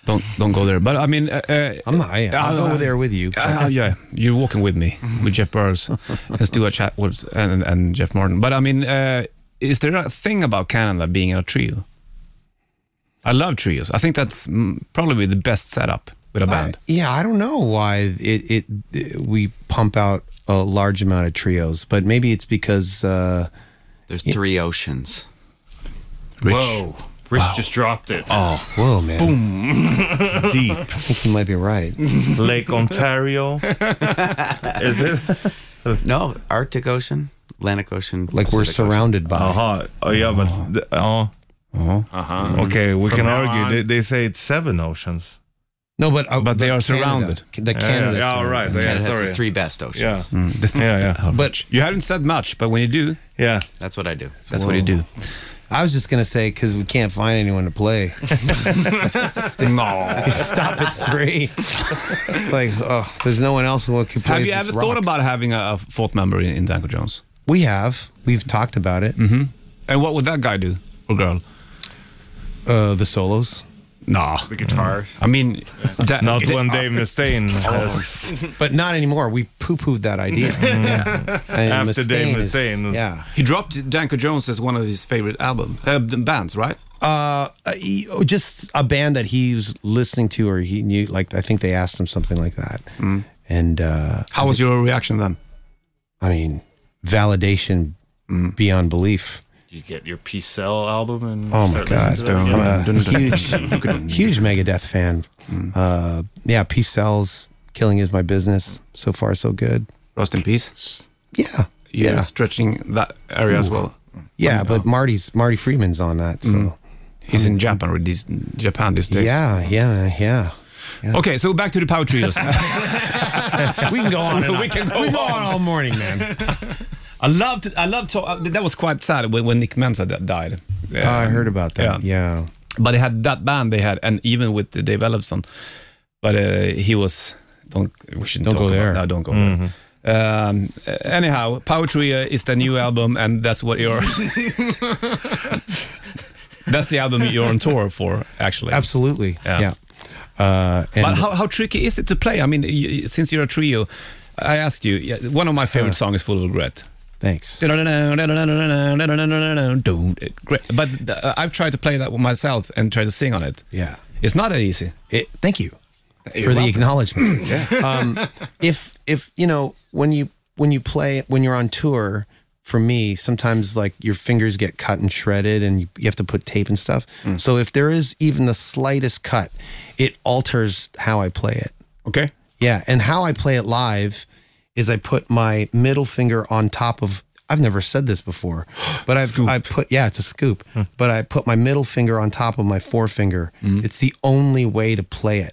[SPEAKER 2] don't don't go there. But I mean, uh, uh,
[SPEAKER 8] I'm not. I, I'll
[SPEAKER 2] Uh,
[SPEAKER 8] go there with you.
[SPEAKER 2] uh, yeah, you're walking with me with Jeff Burrows and Stuart Chatwood and and Jeff Martin. But I mean, uh, is there a thing about Canada being in a trio? I love trios. I think that's mm, probably the best setup with a band.
[SPEAKER 8] I- yeah, I don't know why it, it, it- we pump out a large amount of trios, but maybe it's because uh,
[SPEAKER 14] There's three oceans.
[SPEAKER 2] Rich.
[SPEAKER 7] Whoa, Rich just dropped it. Oh,
[SPEAKER 8] whoa, man,
[SPEAKER 3] deep.
[SPEAKER 8] I think you might be right.
[SPEAKER 3] Lake Ontario. Is it?
[SPEAKER 14] No, Arctic Ocean, Atlantic Ocean.
[SPEAKER 8] Like we're
[SPEAKER 14] Pacific Ocean.
[SPEAKER 8] surrounded by.
[SPEAKER 3] Aha. Oh, yeah, but. th- Oh.
[SPEAKER 7] uh-huh.
[SPEAKER 3] Okay, we
[SPEAKER 7] From
[SPEAKER 3] can
[SPEAKER 7] now on.
[SPEAKER 3] argue. They, they say it's seven oceans.
[SPEAKER 8] No, but uh,
[SPEAKER 2] But they are
[SPEAKER 8] Canada-
[SPEAKER 2] surrounded.
[SPEAKER 8] The Canada.
[SPEAKER 3] yeah, all right. Yeah,
[SPEAKER 8] surrounded.
[SPEAKER 14] Canada has
[SPEAKER 3] sorry.
[SPEAKER 14] the three best oceans.
[SPEAKER 3] Yeah.
[SPEAKER 2] Mm.
[SPEAKER 3] yeah, yeah,
[SPEAKER 2] But you haven't said much. But when you do,
[SPEAKER 3] yeah.
[SPEAKER 14] That's what I do.
[SPEAKER 2] that's what you do.
[SPEAKER 8] I was just gonna say because we can't find anyone to play.
[SPEAKER 2] No.
[SPEAKER 8] Stop at three. it's like, oh, there's no one else who can play.
[SPEAKER 2] Have you
[SPEAKER 8] this
[SPEAKER 2] ever thought
[SPEAKER 8] rock.
[SPEAKER 2] about having a, a fourth member in, in Danko Jones?
[SPEAKER 8] We have. We've talked about it.
[SPEAKER 2] And what would that guy do or girl?
[SPEAKER 8] Uh, the solos,
[SPEAKER 2] Nah.
[SPEAKER 7] The guitar.
[SPEAKER 2] I mean, that,
[SPEAKER 3] Not
[SPEAKER 2] that-
[SPEAKER 3] one Dave Mustaine has.
[SPEAKER 8] but not anymore. We poo-pooed that idea. And
[SPEAKER 3] After Dave
[SPEAKER 8] is-
[SPEAKER 3] Mustaine is-
[SPEAKER 8] yeah.
[SPEAKER 2] He dropped Danko Jones as one of his favorite album uh, bands, right?
[SPEAKER 8] Uh, he- oh, just a band that he was listening to, or he knew. Like I think they asked him something like that, and uh,
[SPEAKER 2] How was your reaction then?
[SPEAKER 8] Mm. I mean, validation beyond belief.
[SPEAKER 7] you get your Peace Cell album and
[SPEAKER 8] Oh my
[SPEAKER 7] start
[SPEAKER 8] God, dude,
[SPEAKER 7] listening to that again.
[SPEAKER 8] I'm a huge, huge Megadeth fan. Uh, yeah, peace sells. Killing is my business. So far, so good.
[SPEAKER 2] Rest in peace.
[SPEAKER 8] Yeah,
[SPEAKER 2] You're
[SPEAKER 8] yeah.
[SPEAKER 2] stretching that area as
[SPEAKER 8] Ooh.
[SPEAKER 2] well.
[SPEAKER 8] Yeah, but Marty's Marty Freeman's on that. So
[SPEAKER 2] Mm. He's in Japan with these Japan these days.
[SPEAKER 8] yeah, yeah, yeah.
[SPEAKER 2] Okay, so back to the power trios.
[SPEAKER 8] we can go on. and
[SPEAKER 2] we can go,
[SPEAKER 8] we can go on all morning, man.
[SPEAKER 2] I loved. I loved. To, uh, that was quite sad when, when Nick Menza di- died.
[SPEAKER 8] Oh, I heard about that. Yeah.
[SPEAKER 2] But they had that band they had, and even with Dave Ellefson, but uh, he was. Don't we shouldn't
[SPEAKER 8] Don't
[SPEAKER 2] talk
[SPEAKER 8] go
[SPEAKER 2] about-
[SPEAKER 8] there. Mm-hmm.
[SPEAKER 2] No, don't go there. Um, uh, anyhow, Power Trio is the new album, and that's what you're. that's the album you're on tour for, actually.
[SPEAKER 8] Absolutely.
[SPEAKER 2] Yeah.
[SPEAKER 8] Yeah. Uh, and
[SPEAKER 2] But how, how tricky is it to play? I mean, y y- since you're a trio, I asked you. yeah, One of my favorite songs is "Full of Regret."
[SPEAKER 8] Thanks.
[SPEAKER 2] Great. But uh, I've tried to play that one myself and try to sing on it.
[SPEAKER 8] Yeah.
[SPEAKER 2] It's not that easy.
[SPEAKER 8] It, thank you
[SPEAKER 2] You're
[SPEAKER 8] for the
[SPEAKER 2] welcome.
[SPEAKER 8] acknowledgement. um, if if you know when you when you play when you're on tour, for me sometimes like your fingers get cut and shredded, and you, you have to put tape and stuff.
[SPEAKER 2] Mm.
[SPEAKER 8] So if there is even the slightest cut, it alters how I play it.
[SPEAKER 2] Okay.
[SPEAKER 8] Yeah, and how I play it live is I put my middle finger on top of. I've never said this before, but I've I put yeah, it's a scoop. But I put my middle finger on top of my forefinger. It's the only way to play it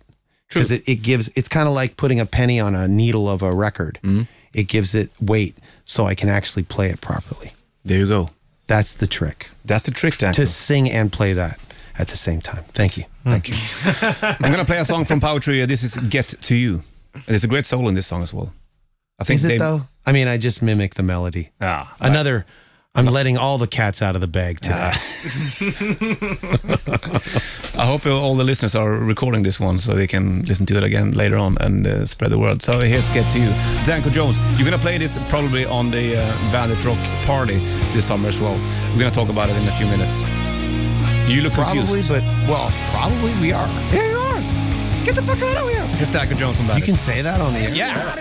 [SPEAKER 8] because it, it gives. It's kind of like putting a penny on a needle of a record. It gives it weight, so I can actually play it properly.
[SPEAKER 2] There you go.
[SPEAKER 8] That's the trick
[SPEAKER 2] That's the trick, Dan.
[SPEAKER 8] to sing and play that at the same time. Thank you.
[SPEAKER 2] Thank you. I'm gonna play a song from Power Trio. This is "Get to You." And there's a great soul in this song as well. I think
[SPEAKER 8] Is it
[SPEAKER 2] they-
[SPEAKER 8] though? I mean, I just mimic the melody.
[SPEAKER 2] Ah,
[SPEAKER 8] Another. I'm letting all the cats out of the bag today.
[SPEAKER 2] I hope all the listeners are recording this one so they can listen to it again later on and uh, spread the word. So here's Get To You. Danko Jones, you're going to play this probably on the uh, Bandit Rock party this summer as well. We're going to talk about it in a few minutes. You look
[SPEAKER 8] Probably,
[SPEAKER 2] confused.
[SPEAKER 8] but well, probably we are.
[SPEAKER 2] Here you are. Get the fuck out of here. Here's Danko Jones from
[SPEAKER 8] You
[SPEAKER 2] Bandit.
[SPEAKER 8] can say that on the air.
[SPEAKER 2] yeah.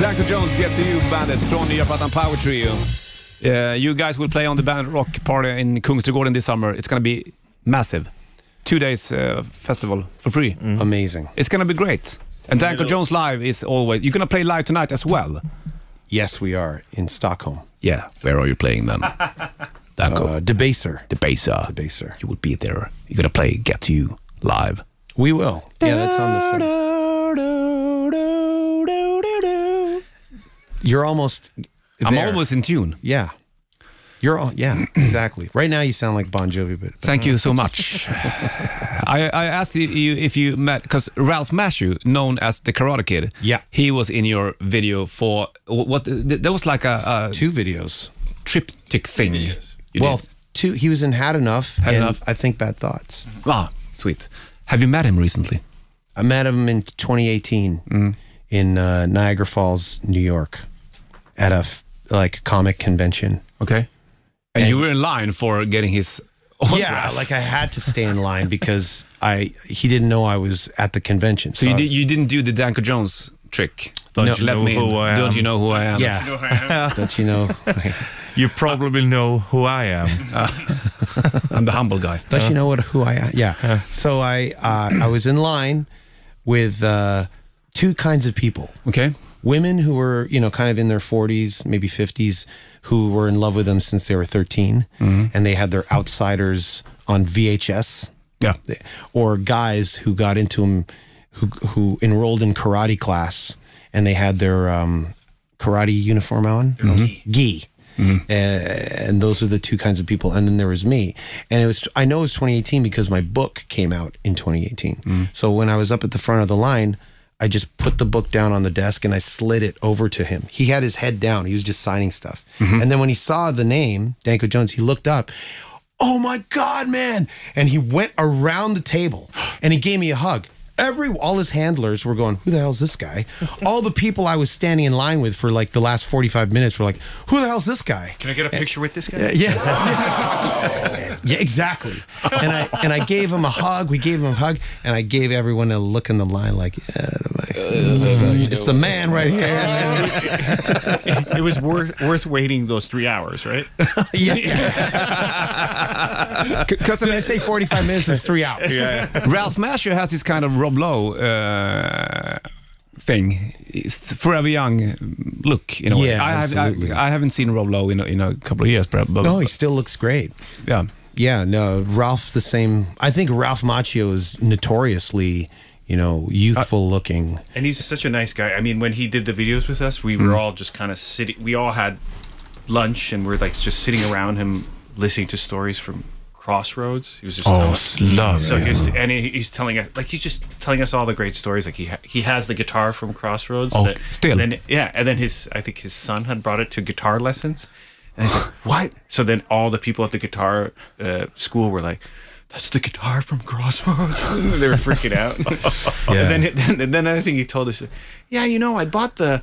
[SPEAKER 2] Danko Jones, Get To You, Bandit från nya plattan Power Trio. Uh, you guys will play on the Bandit Rock party in Kungsträdgården this summer. It's going to be massive. Two days uh, festival for free.
[SPEAKER 8] Amazing.
[SPEAKER 2] It's gonna be great. And Danko Jones live is always. You're gonna play live tonight as well.
[SPEAKER 8] Yes, we are in Stockholm.
[SPEAKER 2] Yeah. Where are you playing then? Danko,
[SPEAKER 8] Uh, debaser.
[SPEAKER 2] the baser.
[SPEAKER 8] Debaser.
[SPEAKER 2] You will be there. You're gonna play Get to You live.
[SPEAKER 8] We will. Yeah, that's on the side. You're almost.
[SPEAKER 2] I'm
[SPEAKER 8] there.
[SPEAKER 2] always in tune.
[SPEAKER 8] Yeah. You're all. Yeah, exactly. Right now, you sound like Bon Jovi, but
[SPEAKER 2] Thank you so much. I, I asked you if you met because Ralph Mashew, known as the Karate Kid,
[SPEAKER 8] Yeah.
[SPEAKER 2] he was in your video for what? There was like a, a
[SPEAKER 8] two videos.
[SPEAKER 2] triptych thing. You
[SPEAKER 8] well,
[SPEAKER 2] did.
[SPEAKER 8] two. He was in Had Enough.
[SPEAKER 2] Had
[SPEAKER 8] and
[SPEAKER 2] Enough.
[SPEAKER 8] I think Bad Thoughts.
[SPEAKER 2] Ah, sweet. Have you met him recently?
[SPEAKER 8] I met him in 2018
[SPEAKER 2] Mm.
[SPEAKER 8] in uh, Niagara Falls, New York, at a f- like comic convention.
[SPEAKER 2] Okay. And, you were in line for getting his autograph.
[SPEAKER 8] Yeah, like I had to stay in line because I he didn't know I was at the convention.
[SPEAKER 2] so you,
[SPEAKER 8] I
[SPEAKER 2] did,
[SPEAKER 8] was-
[SPEAKER 2] you didn't do the Danko Jones trick.
[SPEAKER 3] Don't
[SPEAKER 2] No,
[SPEAKER 3] you know who I
[SPEAKER 2] Don't
[SPEAKER 3] am?
[SPEAKER 2] you know who I am?
[SPEAKER 8] yeah. Don't you know?
[SPEAKER 3] You probably know who I am.
[SPEAKER 2] I'm the humble guy.
[SPEAKER 8] Don't you know what who I am? Yeah. So I uh, I was in line with uh, two kinds of people.
[SPEAKER 2] Okay.
[SPEAKER 8] women who were you know kind of in their 40s maybe 50s who were in love with them since they were 13 and they had their outsiders on vhs
[SPEAKER 2] Yeah.
[SPEAKER 8] They- or guys who got into them who, who enrolled in karate class and they had their um, karate uniform on Mm-hmm. gi Uh, and those are the two kinds of people and then there was me and it was i know it was 2018 because my book came out in 2018 so when i was up at the front of the line i just put the book down on the desk and i slid it over to him he had his head down he was just signing stuff and then when he saw the name danko jones he looked up oh my god man and he went around the table and he gave me a hug every all his handlers were going who the hell's this guy all the people i was standing in line with for like the last 45 minutes were like who the hell's this guy
[SPEAKER 7] Can I get a picture with this guy?
[SPEAKER 8] yeah Yeah, exactly. and I and I gave him a hug. We gave him a hug, and I gave everyone a look in the line like, yeah, it's, it's the man right here.
[SPEAKER 7] it was worth worth waiting those three hours, right?
[SPEAKER 8] Because they say forty-five minutes is three hours.
[SPEAKER 2] Ralph Masher has this kind of Rob Lowe uh, thing, it's forever young look in a way.
[SPEAKER 8] Yeah,
[SPEAKER 2] I, have,
[SPEAKER 8] absolutely.
[SPEAKER 2] I, I haven't seen Rob Lowe in a, in a couple of years, but, but
[SPEAKER 8] No, he still looks great.
[SPEAKER 2] yeah.
[SPEAKER 8] Yeah, no, Ralph the same. I think Ralph Macchio is notoriously, you know, youthful looking.
[SPEAKER 7] And he's such a nice guy. I mean, when he did the videos with us, we were all just kind of sitting. We all had lunch, and we're like just sitting around him, listening to stories from Crossroads. He was just telling us-
[SPEAKER 2] love
[SPEAKER 7] So he's and he- he's telling us like he's just telling us all the great stories. Like he ha- he has the guitar from Crossroads.
[SPEAKER 2] Oh,
[SPEAKER 7] that-
[SPEAKER 2] still.
[SPEAKER 7] Then yeah, and then his I think his son had brought it to guitar lessons, and he's like, "What?" So then all the people at the guitar uh, school were like. That's the guitar from Crossroads. they were freaking out. And then, then, then another thing he told us, yeah, you know, I bought the,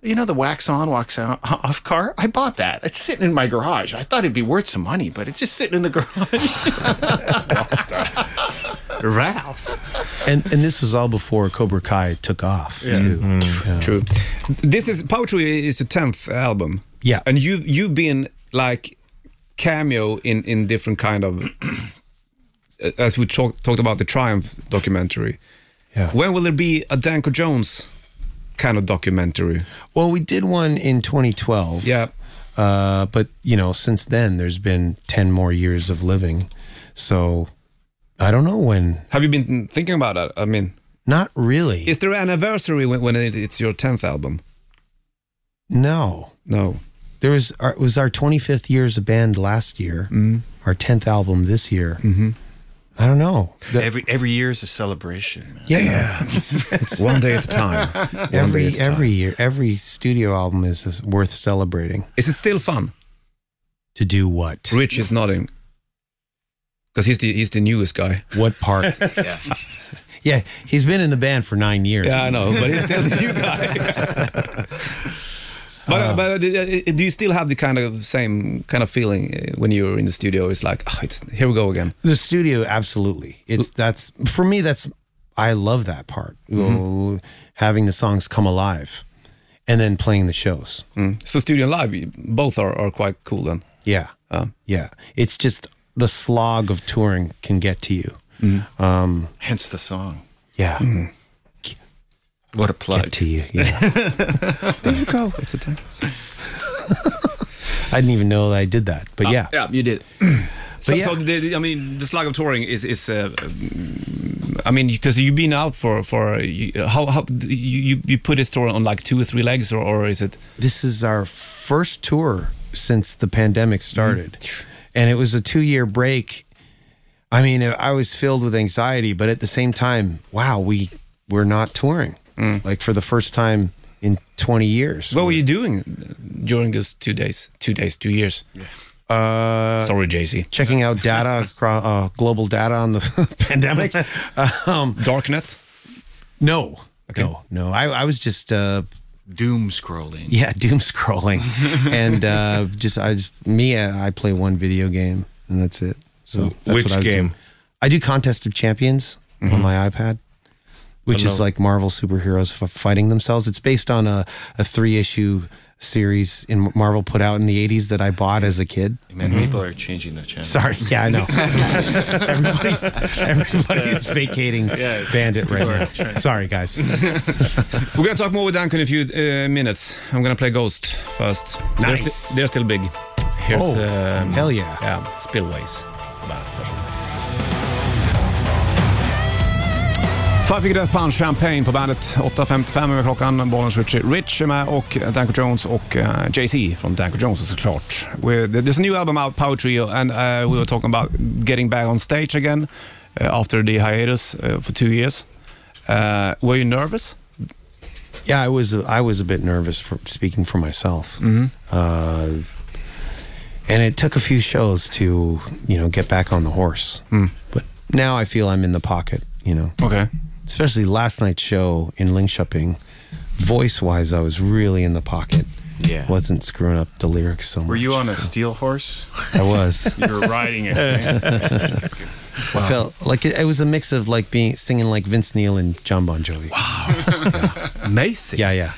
[SPEAKER 7] you know, the wax on, wax out, off car. I bought that. It's sitting in my garage. I thought it'd be worth some money, but it's just sitting in the garage.
[SPEAKER 2] Ralph.
[SPEAKER 8] And and this was all before Cobra Kai took off too. Yeah.
[SPEAKER 2] True. This is Poetry is the 10th album.
[SPEAKER 8] Yeah.
[SPEAKER 2] And you you've been like cameo in in different kind of uh, as we talk, talked about the Triumph documentary.
[SPEAKER 8] Yeah.
[SPEAKER 2] When will there be a Danko Jones kind of documentary?
[SPEAKER 8] Well, we did one in 2012.
[SPEAKER 2] Yeah.
[SPEAKER 8] Uh, but you know, since then there's been 10 more years of living. So I don't know when.
[SPEAKER 2] Have you been thinking about that? I mean,
[SPEAKER 8] Not really.
[SPEAKER 2] is there an anniversary when, when it, it's your 10th album?
[SPEAKER 8] no.
[SPEAKER 2] No.
[SPEAKER 8] There was our, it was our 25th year as a band last year. Our 10th album this year. Mm-hmm. I don't know. The-
[SPEAKER 7] Every every year is a celebration. Man.
[SPEAKER 8] yeah. yeah.
[SPEAKER 2] It's one day at a time. One day at
[SPEAKER 8] Every
[SPEAKER 2] a time.
[SPEAKER 8] every year, every studio album is, is worth celebrating.
[SPEAKER 2] Is it still fun?
[SPEAKER 8] To do what?
[SPEAKER 2] Rich is nodding. Because he's the, he's the newest guy.
[SPEAKER 8] What part? yeah. yeah, he's been in the band for nine years.
[SPEAKER 2] Yeah, I know, but he's still the new guy. but uh, but uh, do you still have the kind of same kind of feeling uh, when you're in the studio? It's like, oh, it's here we go again.
[SPEAKER 8] The studio, absolutely. It's that's for me. That's I love that part. Oh, Having the songs come alive, and then playing the shows.
[SPEAKER 2] Mm. So studio and live, you- both are, are quite cool then.
[SPEAKER 8] Yeah. yeah. It's just the slog of touring can get to you.
[SPEAKER 7] Hence the song.
[SPEAKER 8] Yeah.
[SPEAKER 7] What a plug.
[SPEAKER 8] Get to you. Yeah.
[SPEAKER 2] There you go. It's a time. So,
[SPEAKER 8] I didn't even know that I did that, but yeah.
[SPEAKER 2] uh, yeah, you did. so,
[SPEAKER 8] yeah.
[SPEAKER 2] so the, the- I mean, the slug of touring is is. Uh, mm, I mean, because you've been out for for uh, you, how how you you- you put this tour on like two or three legs, or, or is it?
[SPEAKER 8] This is our first tour since the pandemic started. And it was a two year break. I mean, I was filled with anxiety, but at the same time, wow, we we're not touring. Like for the first time in 20 years.
[SPEAKER 2] What were you doing during those two days? Two days, two years. Uh, Sorry, JC.
[SPEAKER 8] Checking out data, across, uh, global data on the pandemic. Um,
[SPEAKER 2] Darknet.
[SPEAKER 8] no, no, no. I, I was just uh,
[SPEAKER 15] Doom scrolling.
[SPEAKER 8] Yeah, doom scrolling, and uh, just I just me uh, I I play one video game and that's it. So that's
[SPEAKER 16] Which
[SPEAKER 8] what I was
[SPEAKER 16] game?
[SPEAKER 8] Doing. I do Contest of Champions on my iPad, which is like Marvel superheroes f- fighting themselves. It's based on a, a three issue series in Marvel put out in the '80s that I bought as a kid.
[SPEAKER 7] Man, people are changing the channel.
[SPEAKER 8] Sorry, yeah, I know. everybody's everybody's vacating Bandit right now. Sorry, guys.
[SPEAKER 2] We're gonna talk more with Duncan in a few uh, minutes. I'm gonna play Ghost first. They're,
[SPEAKER 8] Nice.
[SPEAKER 2] sti- they're still big. Here's
[SPEAKER 8] Oh,
[SPEAKER 2] um,
[SPEAKER 8] hell yeah.
[SPEAKER 2] yeah, Spillways. Five Finger Death Punch Champagne på bandet. 8.55 över klockan. Bollen Richie Rich är med och Danko Jones och eh, Jay-Z från Danko Jones såklart. We're, there's a new album out, Power Trio, and uh, we were talking about getting back on stage again uh, after the hiatus uh, for two years. Uh, were you nervous?
[SPEAKER 8] Yeah, I was I was a bit nervous for speaking for myself, uh, and it took a few shows to you know get back on the horse. But now I feel I'm in the pocket. You know,
[SPEAKER 2] Okay.
[SPEAKER 8] especially last night's show in Linköping, voice wise, I was really in the pocket.
[SPEAKER 17] Yeah.
[SPEAKER 8] Wasn't screwing up the lyrics so much.
[SPEAKER 7] Were you on a steel horse?
[SPEAKER 8] I was.
[SPEAKER 7] you were riding it. right?
[SPEAKER 8] I felt like it, it was a mix of like being singing like Vince Neil and John Bon Jovi. Wow.
[SPEAKER 18] Amazing.
[SPEAKER 8] Yeah, yeah.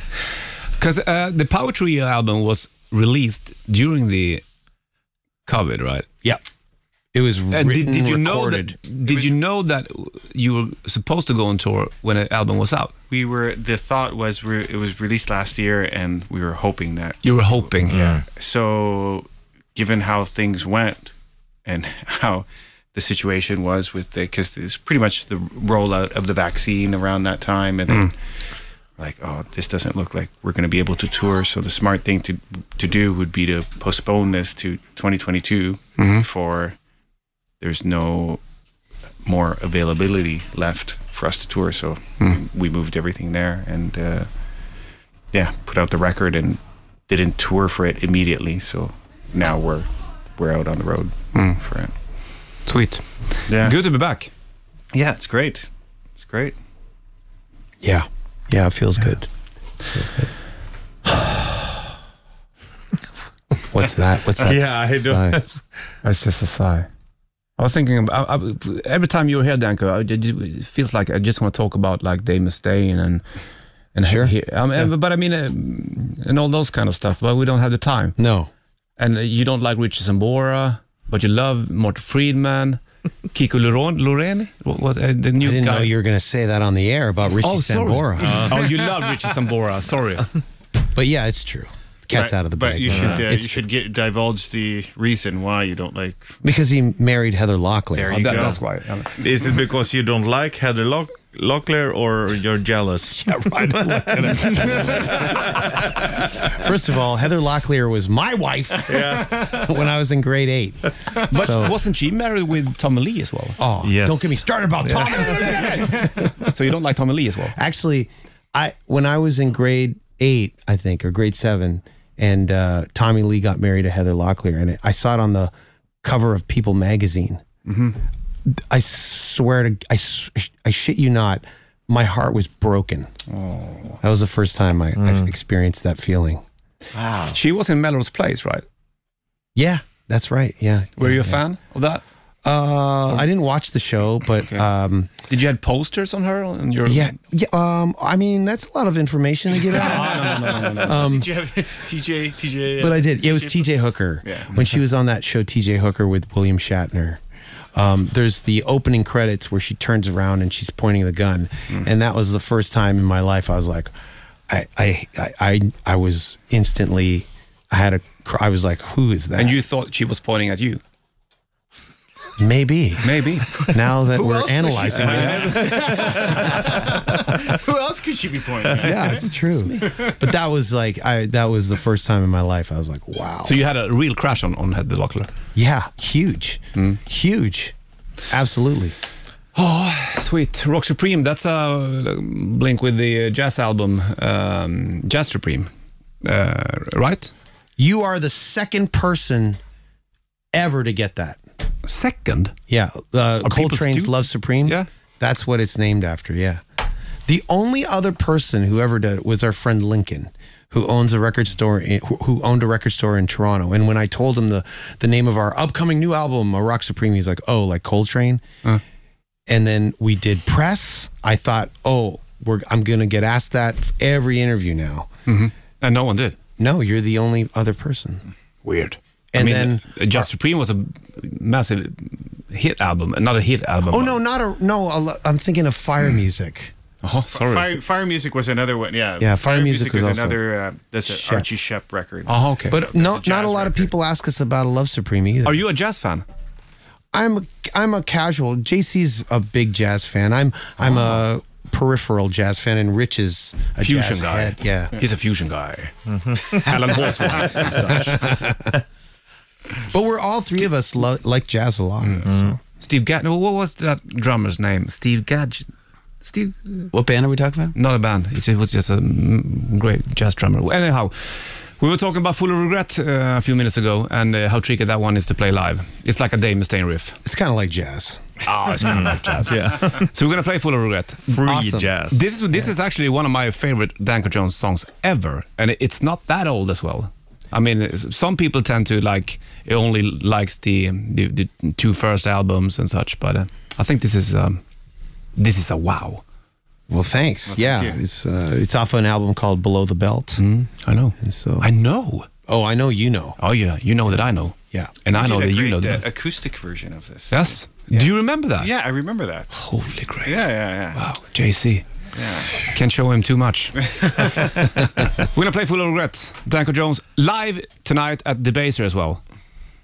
[SPEAKER 2] Because uh, the Power Trio album was released during the COVID, right?
[SPEAKER 8] Yeah. It was
[SPEAKER 2] And did,
[SPEAKER 8] written,
[SPEAKER 2] did you know
[SPEAKER 8] recorded.
[SPEAKER 2] that? Did you know that you were supposed to go on tour when the album was out?
[SPEAKER 7] We were. The thought was we it was released last year, and we were hoping that.
[SPEAKER 2] You were hoping. Yeah.
[SPEAKER 7] So, given how things went, and how the situation was with the, because it's pretty much the rollout of the vaccine around that time, and then like, oh, this doesn't look like we're going to be able to tour. So the smart thing to to do would be to postpone this to 2022
[SPEAKER 18] Mhm.
[SPEAKER 7] before there's no more availability left for us to tour. So
[SPEAKER 18] Hmm.
[SPEAKER 7] we moved everything there and uh, yeah, put out the record and didn't tour for it immediately. So now we're we're out on the road
[SPEAKER 18] Hmm.
[SPEAKER 7] for it.
[SPEAKER 2] Sweet.
[SPEAKER 7] Yeah.
[SPEAKER 2] Good to be back.
[SPEAKER 7] Yeah, it's great. It's great.
[SPEAKER 8] Yeah. Yeah, it feels good. What's that? What's that?
[SPEAKER 3] Yeah, I don't-
[SPEAKER 2] Sigh. That's just a sigh. I was thinking about, I, I, every time you're here, Danko, I, it feels like I just want to talk about like Dave Mustaine and and sure. um, and- But I mean, uh, and all those kind of stuff. But we don't have the time.
[SPEAKER 8] No.
[SPEAKER 2] And uh, you don't like Richie Sambora, but you love Martin Friedman, Kiko Loren- Loreni, what was uh, the new
[SPEAKER 8] I didn't
[SPEAKER 2] guy?
[SPEAKER 8] know you were going to say that on the air about Richie
[SPEAKER 2] oh, sorry.
[SPEAKER 8] Sambora.
[SPEAKER 2] oh, you love Richie Sambora. Sorry.
[SPEAKER 8] But yeah, it's true. The cat's
[SPEAKER 7] But-
[SPEAKER 8] out of the
[SPEAKER 7] But
[SPEAKER 8] bag.
[SPEAKER 7] you should uh, you
[SPEAKER 8] It's
[SPEAKER 7] should get divulge the reason why you don't like.
[SPEAKER 8] because he married Heather Locklear.
[SPEAKER 7] There you go.
[SPEAKER 2] why.
[SPEAKER 3] Is it because you don't like Heather Lock- Locklear or you're jealous?
[SPEAKER 8] Yeah, right. First of all, Heather Locklear was my wife when I was in grade eight.
[SPEAKER 2] But
[SPEAKER 8] So-
[SPEAKER 2] wasn't she married with Tommy Lee as well?
[SPEAKER 8] Oh,
[SPEAKER 3] Yes.
[SPEAKER 8] don't get me started about Tommy.
[SPEAKER 2] So you don't like Tommy Lee as well?
[SPEAKER 8] Actually, I when I was in grade eight, I think, or grade seven, and uh, Tommy Lee got married to Heather Locklear, and I saw it on the cover of People magazine.
[SPEAKER 2] Mm-hmm.
[SPEAKER 8] I swear to, I, s- I shit you not, my heart was broken.
[SPEAKER 2] Oh.
[SPEAKER 8] That was the first time I, I've experienced that feeling.
[SPEAKER 7] Wow.
[SPEAKER 2] She was in Melrose Place, right?
[SPEAKER 8] Yeah, that's right. Yeah.
[SPEAKER 2] Were you a fan of that?
[SPEAKER 8] Uh, I didn't watch the show, but um,
[SPEAKER 2] Did you have posters on her on your?
[SPEAKER 8] yeah, yeah. Um, I mean, that's a lot of information to get out.
[SPEAKER 2] No, no, no, no, no, no.
[SPEAKER 8] Um,
[SPEAKER 7] Did you have TJ TJ?
[SPEAKER 8] but I did. It was T.J. Hooker
[SPEAKER 7] Yeah.
[SPEAKER 8] when she was on that show, T.J. Hooker with William Shatner. Um, there's the opening credits where she turns around and she's pointing the gun,
[SPEAKER 2] Mm.
[SPEAKER 8] and that was the first time in my life I was like, I, I, I, I, I was instantly, I had a, cr- I was like, who is that?
[SPEAKER 2] And you thought she was pointing at you?
[SPEAKER 8] maybe
[SPEAKER 2] Maybe.
[SPEAKER 8] now that we're analyzing this.
[SPEAKER 7] Who else could she be pointing at?
[SPEAKER 8] Yeah, it's true. But that was like I that was the first time in my life I was like, wow.
[SPEAKER 2] so you had a real crash on on Heather Locklear.
[SPEAKER 8] yeah, huge.
[SPEAKER 2] Mm.
[SPEAKER 8] Huge. Absolutely.
[SPEAKER 2] Sweet Rock Supreme. That's a blink with the uh, jazz album, um, Jazz Supreme, uh, right?
[SPEAKER 8] You are the second person ever to get that.
[SPEAKER 2] Second.
[SPEAKER 8] Yeah, uh,
[SPEAKER 2] people
[SPEAKER 8] Coltrane's
[SPEAKER 2] stupid?
[SPEAKER 8] Love Supreme.
[SPEAKER 2] Yeah.
[SPEAKER 8] That's what it's named after, yeah. The only other person who ever did it was our friend Lincoln, who owns a record store in, who- who owned a record store in Toronto. And when I told him the the name of our upcoming new album, a Rock Supreme, he's like, "Oh, like Coltrane." and then we did press. I thought, oh, we're I'm gonna get asked that f- every interview now.
[SPEAKER 2] And Uh, no one did.
[SPEAKER 8] No, you're the only other person.
[SPEAKER 2] Weird.
[SPEAKER 8] And
[SPEAKER 2] I mean,
[SPEAKER 8] then-
[SPEAKER 2] then Jazz Supreme was a massive hit album, another hit album.
[SPEAKER 8] Oh no, not a no. a lo- I'm thinking of
[SPEAKER 2] Hmm.
[SPEAKER 8] fire music.
[SPEAKER 2] Oh, sorry.
[SPEAKER 7] Fire, fire music was another one. Yeah.
[SPEAKER 8] Yeah, Fire Music was also-
[SPEAKER 7] another. Uh, that's an
[SPEAKER 8] Shep.
[SPEAKER 7] Archie Shep record.
[SPEAKER 19] Ah,
[SPEAKER 2] Oh, okay.
[SPEAKER 8] But no,
[SPEAKER 7] jazz
[SPEAKER 8] not a lot of
[SPEAKER 7] record.
[SPEAKER 8] people ask us about a Love Supreme either.
[SPEAKER 2] are you a jazz fan?
[SPEAKER 8] I'm a, I'm a casual. JC's a big jazz fan. I'm I'm a peripheral jazz fan, and Rich is a
[SPEAKER 2] Ah. fusion
[SPEAKER 8] jazz
[SPEAKER 2] guy.
[SPEAKER 8] head. Yeah,
[SPEAKER 2] he's a fusion guy. Alan Horsworth and such.
[SPEAKER 8] but we're all three of us lo- like jazz a lot.
[SPEAKER 2] Mm-hmm.
[SPEAKER 8] So.
[SPEAKER 2] Steve Gadd. no, What was that drummer's name? Steve Gadd. Steve.
[SPEAKER 17] What band are we talking about?
[SPEAKER 2] Not a band. It's- It was just a mm, great jazz drummer. Anyhow, We were talking about Full of Regret uh, a few minutes ago and uh, how tricky that one is to play live. It's like a Dave Mustaine riff.
[SPEAKER 8] It's kind of like jazz.
[SPEAKER 2] Oh, it's kind of like jazz. Yeah. So we're gonna play Full of Regret.
[SPEAKER 3] Free Awesome. jazz.
[SPEAKER 2] This is this is actually one of my favorite Danko Jones songs ever, and it- it's not that old as well. I mean, it's- some people tend to like it only likes the the, the two first albums and such, but uh, I think this is um, this is a wow.
[SPEAKER 8] Well, thanks. yeah, it's uh, it's off an album called Below the Belt.
[SPEAKER 2] I know.
[SPEAKER 8] And so
[SPEAKER 2] I know.
[SPEAKER 8] Oh, I know you know.
[SPEAKER 2] Oh yeah, you know that I know.
[SPEAKER 8] Yeah.
[SPEAKER 2] and I
[SPEAKER 19] We
[SPEAKER 2] know
[SPEAKER 19] did
[SPEAKER 2] that
[SPEAKER 19] a
[SPEAKER 2] you know
[SPEAKER 19] great,
[SPEAKER 2] that.
[SPEAKER 19] uh, acoustic version of this.
[SPEAKER 2] yes. Do you remember that?
[SPEAKER 19] Yeah, I remember that.
[SPEAKER 2] Holy crap.
[SPEAKER 19] Yeah, yeah, yeah.
[SPEAKER 2] Wow, JC. Can't show him too much. We're gonna play Full of Regret. Danko Jones live tonight at the Debaser as well.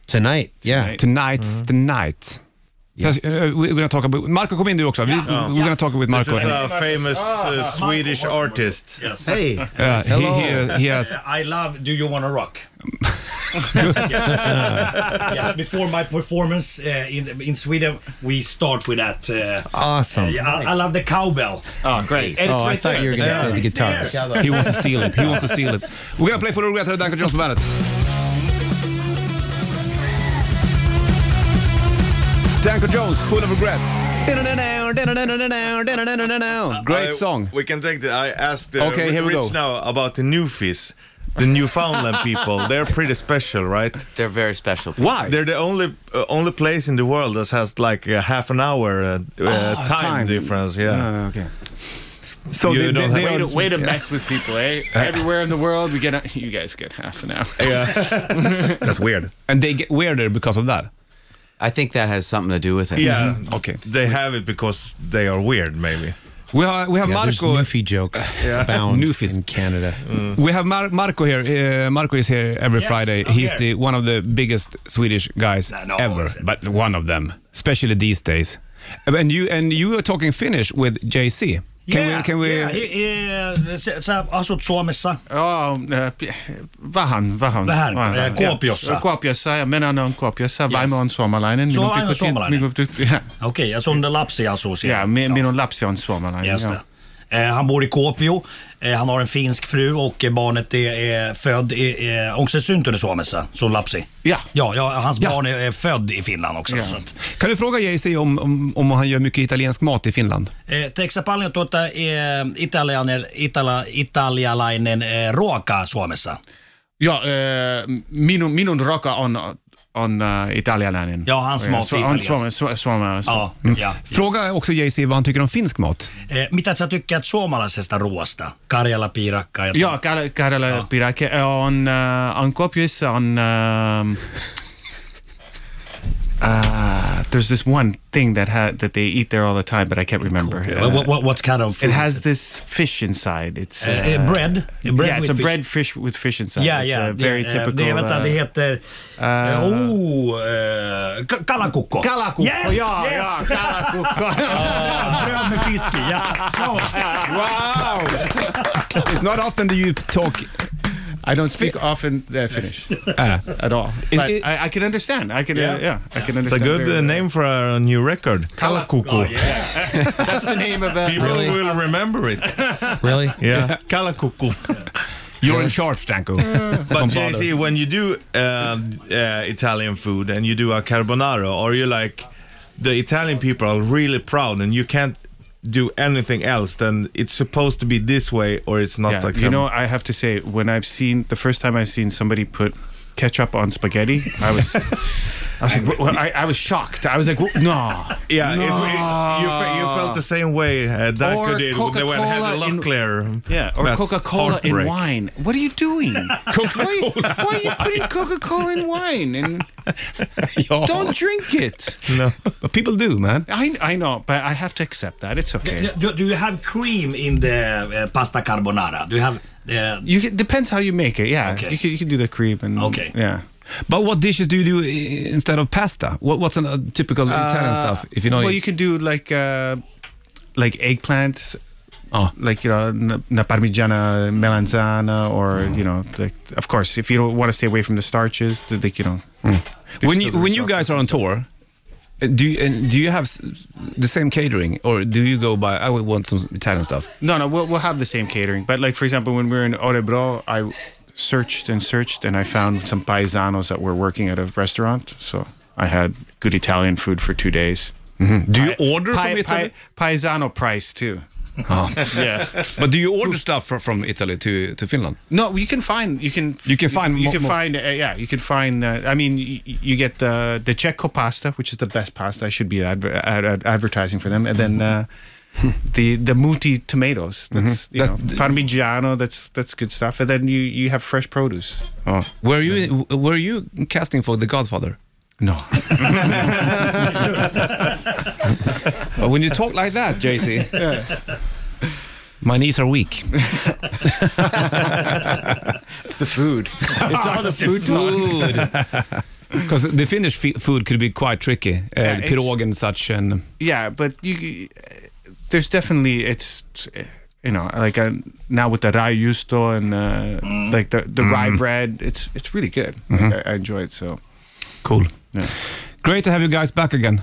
[SPEAKER 8] Tonight, yeah.
[SPEAKER 2] Tonight's
[SPEAKER 19] Mm-hmm.
[SPEAKER 2] the night. Yes, uh, We're gonna talk about Marco. Kom in du också. Vi, We're gonna talk with
[SPEAKER 3] This
[SPEAKER 2] Marco.
[SPEAKER 3] is a famous uh, Swedish artist.
[SPEAKER 11] Yes.
[SPEAKER 8] Hey,
[SPEAKER 2] Uh, he, he, he has.
[SPEAKER 11] I love Do You Wanna Rock? yes. yes. Before my performance uh, in in Sweden, we start with that. Uh,
[SPEAKER 8] Awesome.
[SPEAKER 11] uh, yeah, I, I love the cowbell.
[SPEAKER 7] Oh, great.
[SPEAKER 11] And it's
[SPEAKER 8] Oh, I
[SPEAKER 11] right
[SPEAKER 8] thought
[SPEAKER 11] there.
[SPEAKER 8] you were going to
[SPEAKER 11] Yes,
[SPEAKER 8] say the
[SPEAKER 11] it's
[SPEAKER 8] guitar.
[SPEAKER 11] there.
[SPEAKER 2] He wants to steal it. He wants to steal it. We're gonna play Full of Regret at Danko Jones på bandet. Danko Jones, Full of Regret.
[SPEAKER 3] I-
[SPEAKER 2] Great song.
[SPEAKER 3] We can take the. I asked uh,
[SPEAKER 2] Okay, here we
[SPEAKER 3] Rich
[SPEAKER 2] go.
[SPEAKER 3] now about the Newfies, the Newfoundland people. They're pretty special, right?
[SPEAKER 6] They're very special. people.
[SPEAKER 2] Why?
[SPEAKER 3] They're the only uh, only place in the world that has like a half an hour uh, uh, time,
[SPEAKER 2] Ah, time.
[SPEAKER 3] difference. Yeah.
[SPEAKER 2] Uh, okay. So
[SPEAKER 3] You
[SPEAKER 2] they, they,
[SPEAKER 3] don't
[SPEAKER 2] they
[SPEAKER 3] have-
[SPEAKER 2] are,
[SPEAKER 7] Way to, way to mess with people, eh? Everywhere in the world, we get a, you guys get half an hour.
[SPEAKER 2] that's weird, and they get weirder because of that.
[SPEAKER 6] I think that has something to do with it.
[SPEAKER 5] Mm-hmm.
[SPEAKER 3] yeah.
[SPEAKER 2] Mm-hmm. Okay.
[SPEAKER 3] They have it because they are weird, maybe.
[SPEAKER 2] We have we have
[SPEAKER 8] Yeah, there's
[SPEAKER 2] Marco.
[SPEAKER 8] Newfie jokes bound
[SPEAKER 2] Newfies.
[SPEAKER 8] in Canada.
[SPEAKER 2] We have Mar- Marco here. Uh, Marco is here every
[SPEAKER 11] Yes,
[SPEAKER 2] Friday.
[SPEAKER 11] I'm
[SPEAKER 2] He's
[SPEAKER 11] here.
[SPEAKER 2] the one of the biggest Swedish guys
[SPEAKER 11] No, no.
[SPEAKER 2] ever, but one of them, especially these days. And you and you are talking Finnish with JC. Can
[SPEAKER 11] yeah,
[SPEAKER 2] we? Can we?
[SPEAKER 11] Yeah, he, he, sä, sä asut Suomessa.
[SPEAKER 7] Oh, äh, p- vähän, vähän.
[SPEAKER 11] Vähän, äh, Kuopiossa.
[SPEAKER 7] Ja, Kuopiossa, ja minä olen Kuopiossa. Vaimo on suomalainen.
[SPEAKER 11] Se on
[SPEAKER 7] Minun
[SPEAKER 11] aina
[SPEAKER 7] pikkusi-
[SPEAKER 11] suomalainen.
[SPEAKER 7] minun tyt- ja,
[SPEAKER 11] Okej, alltså, ja sun lapsi asuu siellä.
[SPEAKER 7] ja, mi- minun lapsi on suomalainen.
[SPEAKER 11] Just
[SPEAKER 7] ja.
[SPEAKER 11] det. Eh, han bor i Kuopio. Eh, han har en finsk fru och eh, barnet är, är född i... Eh, också syntunen Suomessa, som lapsi.
[SPEAKER 7] Ja.
[SPEAKER 11] Ja, ja hans
[SPEAKER 2] Ja.
[SPEAKER 11] barn är, är född i Finland också. Så att,
[SPEAKER 2] Kan du fråga JC om, om, om han gör mycket italiensk mat i Finland?
[SPEAKER 11] eh, Teksa paljon tuota eh, italianer, itala, italialainen eh, ruokaa Suomessa.
[SPEAKER 7] Ja, äh, minun, minun roka on, on äh, italialainen.
[SPEAKER 11] Ja, hans mat är
[SPEAKER 7] är
[SPEAKER 11] italiensk.
[SPEAKER 7] italiensk.
[SPEAKER 11] Ja,
[SPEAKER 7] Mm.
[SPEAKER 11] ja.
[SPEAKER 2] Fråga också JC vad han tycker om finsk mat.
[SPEAKER 11] Eh, mitä sä tykkäät suomalaisesta ruoasta? Karjala, piirakka ja... Ah.
[SPEAKER 7] Ja, Karjala, Karjala Pirake on, äh, on Kuopiossa on... ähm, uh, there's this one thing that ha- that they eat there all the time, but I can't remember. Uh,
[SPEAKER 11] What, what, what kind of food?
[SPEAKER 7] it has this fish inside. It's
[SPEAKER 11] Eh, eh, bread? Eh, bread
[SPEAKER 7] yeah, it's
[SPEAKER 11] with
[SPEAKER 7] a
[SPEAKER 11] fish.
[SPEAKER 7] bread fish with fish inside.
[SPEAKER 11] Ja,
[SPEAKER 7] it's
[SPEAKER 11] ja.
[SPEAKER 7] uh, very
[SPEAKER 11] det, eh,
[SPEAKER 7] typical.
[SPEAKER 11] Det, vänta,
[SPEAKER 7] uh,
[SPEAKER 11] det heter... eh,
[SPEAKER 7] eh,
[SPEAKER 11] oh, eh, ka- kalakukko.
[SPEAKER 7] Kalakukko,
[SPEAKER 11] Yes,
[SPEAKER 7] ja,
[SPEAKER 11] yes.
[SPEAKER 7] ja, kalakukko.
[SPEAKER 11] Ah, Bröd med fisk i, ja. Ja.
[SPEAKER 2] Wow! It's not often that you talk.
[SPEAKER 7] I don't speak often uh, Finnish
[SPEAKER 2] Uh,
[SPEAKER 7] at all,
[SPEAKER 2] Is
[SPEAKER 7] but
[SPEAKER 2] it-
[SPEAKER 7] I, I can understand. I can,
[SPEAKER 11] Yeah.
[SPEAKER 7] uh, yeah, I can
[SPEAKER 3] It's a
[SPEAKER 7] understand.
[SPEAKER 3] good
[SPEAKER 7] very
[SPEAKER 3] uh,
[SPEAKER 7] well.
[SPEAKER 3] name for a new record. Kalakuku.
[SPEAKER 11] Oh, yeah.
[SPEAKER 7] That's the name of
[SPEAKER 3] People
[SPEAKER 7] uh,
[SPEAKER 8] Really?
[SPEAKER 3] will remember it.
[SPEAKER 8] Really?
[SPEAKER 3] Yeah. Kalakuku.
[SPEAKER 2] you're in charge, Danko.
[SPEAKER 3] But JC, when you do uh, uh, Italian food and you do a carbonara, or you like, the Italian people are really proud, and you can't do anything else. Then it's supposed to be this way, or it's not
[SPEAKER 7] Yeah,
[SPEAKER 3] like
[SPEAKER 7] you
[SPEAKER 3] um,
[SPEAKER 7] know, I have to say, when I've seen the first time I've seen somebody put ketchup on spaghetti, I was, I was like, well, I, I was shocked. I was like, "Wha- no,
[SPEAKER 3] Yeah, it, it- you, fe- you felt the same way uh, Danko
[SPEAKER 7] Or
[SPEAKER 3] did when they went had a
[SPEAKER 7] Coca-Cola in-
[SPEAKER 3] Locklear.
[SPEAKER 7] yeah, or
[SPEAKER 3] That's
[SPEAKER 7] Coca Cola in
[SPEAKER 3] heartbreak.
[SPEAKER 7] wine. What are you doing? Why, why are you putting Coca Cola in wine? And don't drink it.
[SPEAKER 2] But people do, man.
[SPEAKER 7] I I know, but I have to accept that. It's okay.
[SPEAKER 11] Do, do you have cream in the eh, pasta carbonara? Do you have... eh,
[SPEAKER 7] You can, depends how you make it. Yeah,
[SPEAKER 11] Okay.
[SPEAKER 7] you can you can do the cream and
[SPEAKER 11] Okay.
[SPEAKER 7] yeah.
[SPEAKER 2] But what dishes do you do i- instead of pasta? What, what's a typical Italian stuff? If you know,
[SPEAKER 7] Uh, well, you can do like uh, like eggplant,
[SPEAKER 2] Oh.
[SPEAKER 7] like you know, na, na parmigiana melanzana, or you know, like of course, if you don't want to stay away from the starches, to like you know, there's
[SPEAKER 2] Hmm. when
[SPEAKER 7] still
[SPEAKER 2] you
[SPEAKER 7] the
[SPEAKER 2] when you
[SPEAKER 7] risotto.
[SPEAKER 2] guys are on tour, uh, do you, and do you have s- the same catering, or do you go by? I would want some Italian stuff.
[SPEAKER 7] no, no, we'll we'll have the same catering, but like for example, when we were in Orebro, I searched and searched, and I found some paisanos that were working at a restaurant. So I had good Italian food for two days.
[SPEAKER 2] Do you order
[SPEAKER 7] Pai-
[SPEAKER 2] from Italy?
[SPEAKER 7] Pai- paisano price too.
[SPEAKER 2] Oh.
[SPEAKER 7] Yeah.
[SPEAKER 2] But do you order stuff fro- from Italy to, to Finland?
[SPEAKER 7] No, you can find you can
[SPEAKER 2] You can find
[SPEAKER 7] you
[SPEAKER 2] mo-
[SPEAKER 7] can
[SPEAKER 2] mo-
[SPEAKER 7] find uh, yeah you can find uh, I mean you, you get the the Cecco pasta which is the best pasta I should be adver- ad- ad- advertising for them and then uh, the the muti tomatoes that's
[SPEAKER 2] Mhm.
[SPEAKER 7] you know
[SPEAKER 2] That-
[SPEAKER 7] parmigiano that's that's good stuff and then you you have fresh produce.
[SPEAKER 2] Oh. Were you were you casting for The Godfather?
[SPEAKER 7] No.
[SPEAKER 2] but when you talk like that, JC, my knees are weak.
[SPEAKER 7] it's the food.
[SPEAKER 20] It's all the food talk.
[SPEAKER 2] Because the Finnish fi- food could be quite tricky, uh,
[SPEAKER 7] Yeah, it's-
[SPEAKER 2] pirog and such, and
[SPEAKER 7] yeah, but you, there's definitely it's you know like uh now with the rye justo and uh,
[SPEAKER 5] Mm-hmm.
[SPEAKER 7] like the the rye
[SPEAKER 2] Mm.
[SPEAKER 7] bread, it's it's really good.
[SPEAKER 2] Mm-hmm.
[SPEAKER 7] Like, I, I enjoy it so.
[SPEAKER 2] cool. Great to have you guys back again.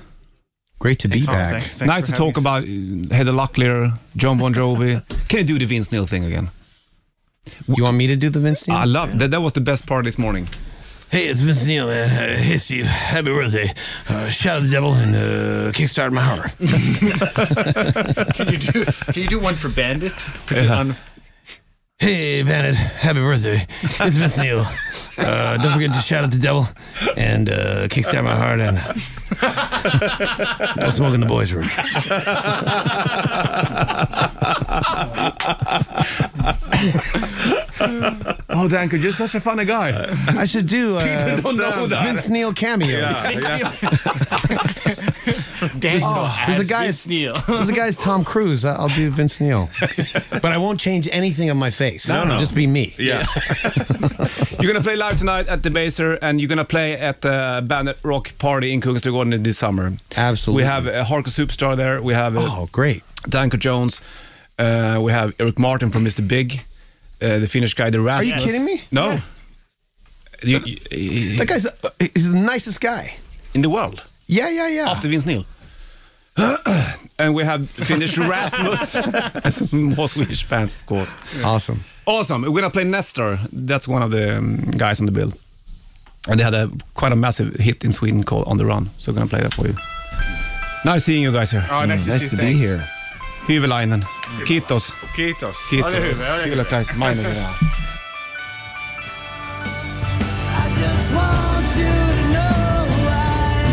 [SPEAKER 8] Great to
[SPEAKER 7] be Thanks, back. Oh, thanks, thanks
[SPEAKER 2] nice
[SPEAKER 7] for
[SPEAKER 2] to talk about uh, Heather Locklear, John Bon Jovi. Can you do the Vince Neil thing again?
[SPEAKER 8] You want me to do the Vince Neil?
[SPEAKER 2] I love that. That was the best part this morning.
[SPEAKER 11] Hey, it's Vince Neil. Uh, hey, Steve. Happy birthday. Uh, shout out the devil and uh, kickstart my heart.
[SPEAKER 10] Can you do Can you do one for Bandit?
[SPEAKER 11] Hey, Bandit. Happy birthday. It's Vince Neil. Uh, don't forget to shout out the devil and uh, kickstart my heart and no smoke in the boys' room.
[SPEAKER 2] Oh, Danko, you're such a funny guy.
[SPEAKER 8] I should do uh,
[SPEAKER 2] People don't know that.
[SPEAKER 8] Vince Neil cameos.
[SPEAKER 20] There's,
[SPEAKER 5] Ah.
[SPEAKER 8] There's a guy's There's a guy's Tom Cruise. I- I'll do Vince Neil, but I won't change anything on my face.
[SPEAKER 2] No, no.
[SPEAKER 8] just be me.
[SPEAKER 2] Yeah. you're gonna play live tonight at the Baser, and you're gonna play at the Bandit Rock Party in Kungsträdgården this summer.
[SPEAKER 8] Absolutely.
[SPEAKER 2] We have a hardcore superstar there. We have oh,
[SPEAKER 8] great,
[SPEAKER 2] Danko Jones. Uh, we have Eric Martin from Mr. Big, uh, the Finnish guy, the
[SPEAKER 8] Are you
[SPEAKER 2] Rasmus.
[SPEAKER 8] kidding me?
[SPEAKER 2] No. You, you-
[SPEAKER 8] That guy's uh, he's the nicest guy.
[SPEAKER 2] in the world.
[SPEAKER 8] Yeah, yeah, yeah.
[SPEAKER 2] After Vince Neil. and we have Finnish Rasmus and some more Swedish bands, of course.
[SPEAKER 8] Awesome.
[SPEAKER 2] Awesome. We're gonna play Nestor. That's one of the um, guys on the bill. And they had a quite a massive hit in Sweden called On the Run. So we're gonna play that for you. Nice seeing you guys here.
[SPEAKER 7] Oh, nice to Mm, see nice you. to be Thanks. here.
[SPEAKER 2] Hyväläinen. Kiitos.
[SPEAKER 7] Kiitos.
[SPEAKER 2] Kiitos.
[SPEAKER 7] Ole hyvä, ole
[SPEAKER 2] Kyllä,
[SPEAKER 7] hyvä.
[SPEAKER 2] guys. Meine Herren.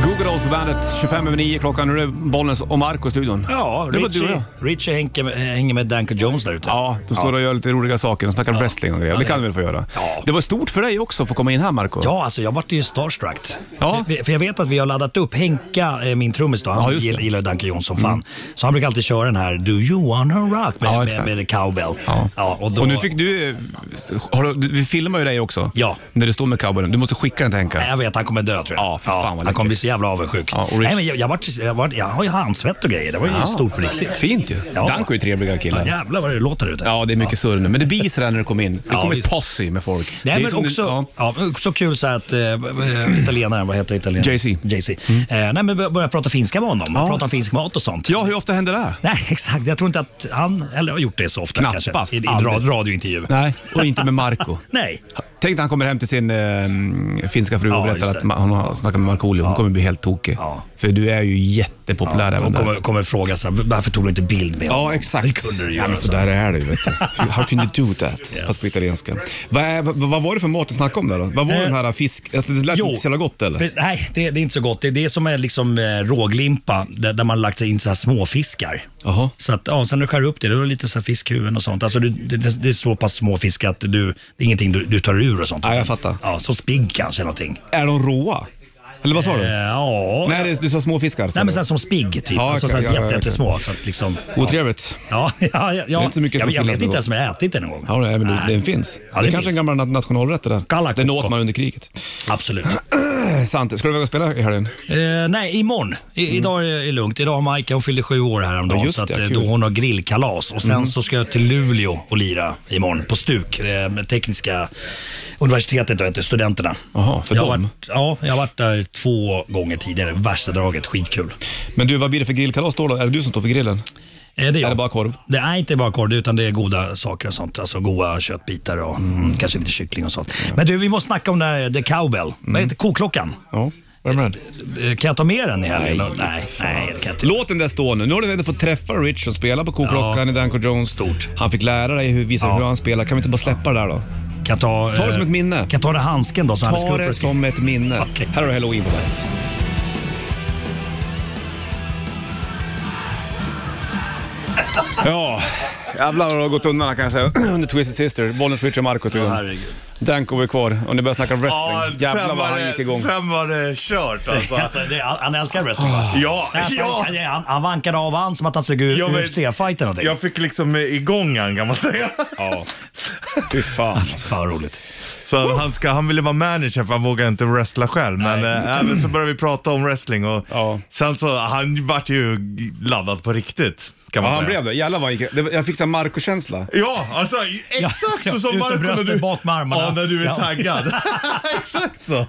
[SPEAKER 2] Google Dolls på bandet, 25 över 9 klockan. Nu är det Bollnäs och Marco i studion.
[SPEAKER 5] Ja,
[SPEAKER 2] det var du och jag.
[SPEAKER 5] Richie, Richie Henke, hänger med Danko Jones där ute. Ja,
[SPEAKER 2] De står och gör lite roliga saker. De snackar wrestling och grejer.
[SPEAKER 5] Ja,
[SPEAKER 2] det
[SPEAKER 5] det-
[SPEAKER 2] kan du väl få göra?
[SPEAKER 5] Ja.
[SPEAKER 2] Det var stort för dig också att få komma in här, Marco.
[SPEAKER 5] Ja, alltså jag vart ju starstruck. Vi- För jag vet att vi har laddat upp Henka, eh, min trummis då, han gill- gillar ju Danke Johnson fan. Så han brukar alltid köra den här Do you wanna rock med, med,
[SPEAKER 2] Mm. exakt.
[SPEAKER 5] med, cowbell. Ja. och, då,
[SPEAKER 2] Och nu fick du... Har du vi filmar ju dig också. Ja. När du står med cowboyen. Du måste skicka den till Henka.
[SPEAKER 5] Jag vet, han kommer dö tror jag.
[SPEAKER 2] Ja, för
[SPEAKER 5] Ja,
[SPEAKER 2] fan vad
[SPEAKER 5] han kommer
[SPEAKER 2] läckert.
[SPEAKER 5] bli så jävla avundsjuk.
[SPEAKER 2] Ja, och Rich-
[SPEAKER 5] Nej, men jag, jag, vart, jag, vart, jag har ju handsvett och grejer, det var ju
[SPEAKER 2] Ja.
[SPEAKER 5] stort på riktigt.
[SPEAKER 2] Fint ju. Danko är ju trevliga killar.
[SPEAKER 5] Ja, jävlar vad det låter ute.
[SPEAKER 2] Ja, det är mycket surr nu. Men det blir sådär när du kommer in. Det
[SPEAKER 5] Ja,
[SPEAKER 2] kommer ett
[SPEAKER 5] visst.
[SPEAKER 2] posse med folk. Det är
[SPEAKER 5] Nej, men
[SPEAKER 2] som det-
[SPEAKER 5] också,
[SPEAKER 2] ja.
[SPEAKER 5] ja. också kul så här att äh, italienaren, vad heter italienaren?
[SPEAKER 2] JC.
[SPEAKER 5] JC.
[SPEAKER 2] Mm.
[SPEAKER 5] Eh, nej, men bör- börja prata finska med honom. Prata om finsk mat och sånt.
[SPEAKER 2] Ja, hur ofta händer det?
[SPEAKER 5] Nej, exakt. Jag tror inte att han eller har gjort det så ofta.
[SPEAKER 2] Knappast.
[SPEAKER 5] Kanske, I i
[SPEAKER 2] aldrig.
[SPEAKER 5] rad, radiointervju.
[SPEAKER 2] Nej, och inte med Marco.
[SPEAKER 5] Nej.
[SPEAKER 2] Tänk när han kommer hem till sin eh, finska fru och
[SPEAKER 5] Ja,
[SPEAKER 2] berättar
[SPEAKER 5] just
[SPEAKER 2] att
[SPEAKER 5] det.
[SPEAKER 2] ma- hon har snackat med Markoolio. Hon kommer bli helt tokig. För du är ju jättepopulär
[SPEAKER 5] Ja,
[SPEAKER 2] även
[SPEAKER 5] hon
[SPEAKER 2] där.
[SPEAKER 5] kommer, kommer fråga så här, varför tog du inte bild med honom?
[SPEAKER 2] Ja, exakt.
[SPEAKER 5] Det kunde du ju
[SPEAKER 2] ja, men
[SPEAKER 5] göra.
[SPEAKER 2] så där är det ju. Vet du. How can you do that? Fast på italienska. Vad, är, vad, vad var det för mat du snackade om där då? Vad var
[SPEAKER 5] Eh,
[SPEAKER 2] den här fisk... Alltså, det lät
[SPEAKER 5] jo.
[SPEAKER 2] inte så jävla gott eller?
[SPEAKER 5] Precis, Nej, det, det är inte så gott. Det är det som är liksom eh, råglimpa, där, där man lagt in så här småfiskar. Så att, ja, sen när du skär upp det, då är det lite så här fiskhuvuden och sånt. Alltså, du, det, det, det är så pass små fiskar att du, det är ingenting du, du tar ur och sånt. Ja, jag
[SPEAKER 2] fattar.
[SPEAKER 5] Ja, som spigg kanske eller någonting.
[SPEAKER 2] Är de råa? Eller vad sa du?
[SPEAKER 5] Eh, ja.
[SPEAKER 2] Nej, det, du sa små fiskar.
[SPEAKER 5] Nej, men så här som spigg typ.
[SPEAKER 2] Ja,
[SPEAKER 5] alltså, så
[SPEAKER 2] okej,
[SPEAKER 5] här
[SPEAKER 2] ja, ja,
[SPEAKER 5] jätte,
[SPEAKER 2] okej.
[SPEAKER 5] jättesmå. Så att liksom, ja.
[SPEAKER 2] Otrevligt.
[SPEAKER 5] Ja, ja, ja,
[SPEAKER 2] Det är inte så mycket
[SPEAKER 5] jag,
[SPEAKER 2] från
[SPEAKER 5] jag
[SPEAKER 2] Finland
[SPEAKER 5] vet inte
[SPEAKER 2] då.
[SPEAKER 5] ens om jag ätit den någon gång.
[SPEAKER 2] Ja, nej, men det,
[SPEAKER 5] Nej.
[SPEAKER 2] den finns.
[SPEAKER 5] Ja,
[SPEAKER 2] det,
[SPEAKER 5] det
[SPEAKER 2] är kanske är en
[SPEAKER 5] finns.
[SPEAKER 2] gammal nat- nationalrätt det där. Den åt man under kriget.
[SPEAKER 5] Absolut.
[SPEAKER 2] Sant. Ska du väga och spela i helgen?
[SPEAKER 5] Eh, nej, imorgon. I, Idag är det lugnt. Idag har Maika, hon fyllde sju år häromdagen.
[SPEAKER 2] Ja, just
[SPEAKER 5] så att,
[SPEAKER 2] det,
[SPEAKER 5] eh,
[SPEAKER 2] kul.
[SPEAKER 5] då hon har grillkalas. Och sen
[SPEAKER 2] Mm.
[SPEAKER 5] så ska jag till Luleå och lira imorgon på STUK, eh, med Tekniska universitetet, vet du, studenterna.
[SPEAKER 2] Jaha, för
[SPEAKER 5] jag har
[SPEAKER 2] dem?
[SPEAKER 5] Varit, ja, eh, jag har varit där två gånger tidigare. Värsta draget, skitkul.
[SPEAKER 2] Men du, vad blir det för grillkalas då? då? Är det du som står för grillen?
[SPEAKER 5] Eh, Det är, är det
[SPEAKER 2] bara korv?
[SPEAKER 5] Det är inte bara korv, utan det är goda saker och sånt. Alltså goda köttbitar och mm, kanske lite kyckling och sånt. Men du, vi måste snacka om den här eh, The Cowbell.
[SPEAKER 2] Mm.
[SPEAKER 5] Vad heter koklockan? Eh,
[SPEAKER 2] Ja.
[SPEAKER 5] Kan jag ta med den i helgen?
[SPEAKER 2] Nej,
[SPEAKER 5] nej, nej det kan jag inte.
[SPEAKER 2] Låt den där stå nu. Nu har du redan fått träffa Rich och spela på koklockan i Danko Jones. Stort. Han fick lära dig hur, visa hur han spelar. Kan vi inte bara släppa det där då?
[SPEAKER 5] Kan ta,
[SPEAKER 2] ta det som
[SPEAKER 5] eh,
[SPEAKER 2] ett minne. Kan
[SPEAKER 5] jag ta det handsken då? som
[SPEAKER 2] ta
[SPEAKER 5] Alice Cooper
[SPEAKER 2] det
[SPEAKER 5] skrev?
[SPEAKER 2] som ett minne. Här har du halloween på bandet. Ja, jävlar vad det har gått undan kan jag säga. Under Twisted Sister, Bollnäs, Rich och Marcus. Oh, Danko är kvar och ni börjar snacka wrestling. jävlar vad han gick igång.
[SPEAKER 3] Sen var det kört
[SPEAKER 5] Alltså,
[SPEAKER 3] alltså.
[SPEAKER 5] det, han han älskar wrestling va?
[SPEAKER 3] Ja,
[SPEAKER 5] Nej,
[SPEAKER 3] ja.
[SPEAKER 5] Ah. Han, han, han vankade av han som att han såg ut
[SPEAKER 3] Jag vet-
[SPEAKER 5] UFC-fighter någonting.
[SPEAKER 3] Jag fick liksom eh, igång han kan man säga.
[SPEAKER 2] Ja. Fy fan.
[SPEAKER 5] Fan vad roligt.
[SPEAKER 3] Så han, ska, han ville vara manager för han vågade inte wrestla själv. Men eh, även så började vi prata om wrestling och sen så han vart ju laddad på riktigt. Kan man
[SPEAKER 2] Ja, han
[SPEAKER 3] säga.
[SPEAKER 2] blev det. Jävlar vad han gick... det var- Jag fick sån Marco-känsla.
[SPEAKER 3] Ja, alltså exakt
[SPEAKER 2] Ja,
[SPEAKER 3] så som
[SPEAKER 2] ut med
[SPEAKER 3] Marco när
[SPEAKER 2] brösten,
[SPEAKER 3] du,
[SPEAKER 2] bak med armarna.
[SPEAKER 3] Ja, Oh, när du är
[SPEAKER 2] Ja.
[SPEAKER 3] taggad. exakt så.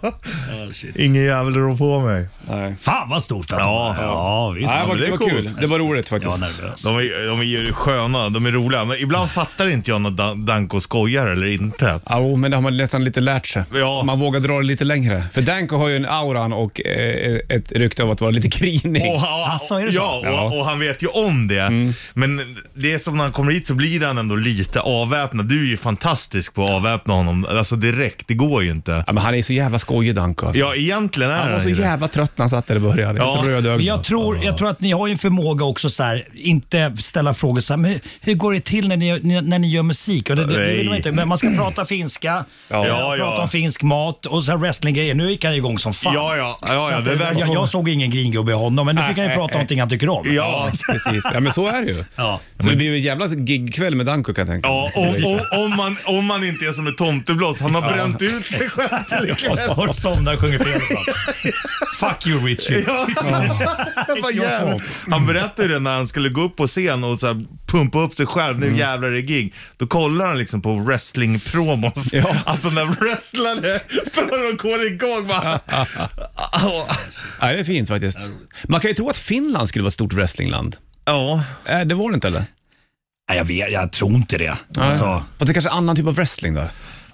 [SPEAKER 3] Ingen jävel rår på mig.
[SPEAKER 2] Nej.
[SPEAKER 5] Fan Ah, vad stort att
[SPEAKER 3] Ja,
[SPEAKER 5] det var. Ja, visst.
[SPEAKER 3] Ja,
[SPEAKER 5] Ja,
[SPEAKER 3] men
[SPEAKER 5] det
[SPEAKER 3] det,
[SPEAKER 5] var
[SPEAKER 3] var
[SPEAKER 5] kul.
[SPEAKER 3] coolt.
[SPEAKER 2] Det var roligt faktiskt.
[SPEAKER 5] Jag var nervös.
[SPEAKER 3] De är, de är ju sköna, de är roliga. Men ibland fattar inte jag när Dan- Danko skojar eller inte.
[SPEAKER 2] Ja, jo, men det har man nästan lite lärt sig. Man vågar dra det lite längre. För Danko har ju en auran och eh, ett rykte av att vara lite grinig.
[SPEAKER 3] Och, han- ja, och, och han vet ju om det. Men det är som när han kommer hit så blir han ändå lite avväpnad. Du är ju fantastisk på att avväpna honom. Alltså direkt, det går ju inte.
[SPEAKER 2] Ja, men han är så jävla skojig Danko. alltså.
[SPEAKER 3] Ja, egentligen är
[SPEAKER 2] Han var så
[SPEAKER 3] ju det.
[SPEAKER 2] jävla trött när han satt där i början. Helt
[SPEAKER 5] Men
[SPEAKER 2] rödögd.
[SPEAKER 5] jag, tror, jag tror att ni har ju en förmåga också så här, inte ställa frågor så här, men hur, hur går det till när ni, ni- när ni gör musik? Och det, det, det vill man,
[SPEAKER 3] Nej.
[SPEAKER 5] inte, men man ska prata finska,
[SPEAKER 3] Ja.
[SPEAKER 5] eh,
[SPEAKER 3] Ja,
[SPEAKER 5] prata
[SPEAKER 3] ja.
[SPEAKER 5] om finsk mat och så här wrestlinggrejer. Nu gick han igång som fan.
[SPEAKER 3] Ja, ja, ja, ja,
[SPEAKER 5] Så att,
[SPEAKER 3] det verkar-
[SPEAKER 5] jag, jag såg ingen gringubbe i honom, men nu fick han ju prata om någonting han tycker om.
[SPEAKER 2] Ja, precis. Ja, men så är det ju.
[SPEAKER 5] Ja.
[SPEAKER 2] Så det blir ju en jävla gigkväll med Danko kan jag tänka
[SPEAKER 3] Ja, om, om, om, man, om man inte är som ett tomteblås. Han har bränt ut sig själv till ikväll.
[SPEAKER 5] Jag har somnat och sjunger fel och sånt. Fuck you Richie.
[SPEAKER 3] Ja. Jag bara,
[SPEAKER 5] It's your
[SPEAKER 3] jävlar.
[SPEAKER 5] fault.
[SPEAKER 3] Han berättade ju det när han skulle gå upp på scen och så här pumpa upp sig själv, nu
[SPEAKER 5] Mm.
[SPEAKER 3] jävlar är det gig. Då kollar han liksom på wrestling-promos. Alltså när wrestlare står och går igång. Bara,
[SPEAKER 2] Nej, det är fint faktiskt. Man kan ju tro att Finland skulle vara ett stort wrestlingland. Äh,
[SPEAKER 3] Ja.
[SPEAKER 2] Det var det inte eller?
[SPEAKER 5] Nej, jag, vet, jag tror inte det. Alltså.
[SPEAKER 2] Fast det är kanske är annan typ av wrestling då?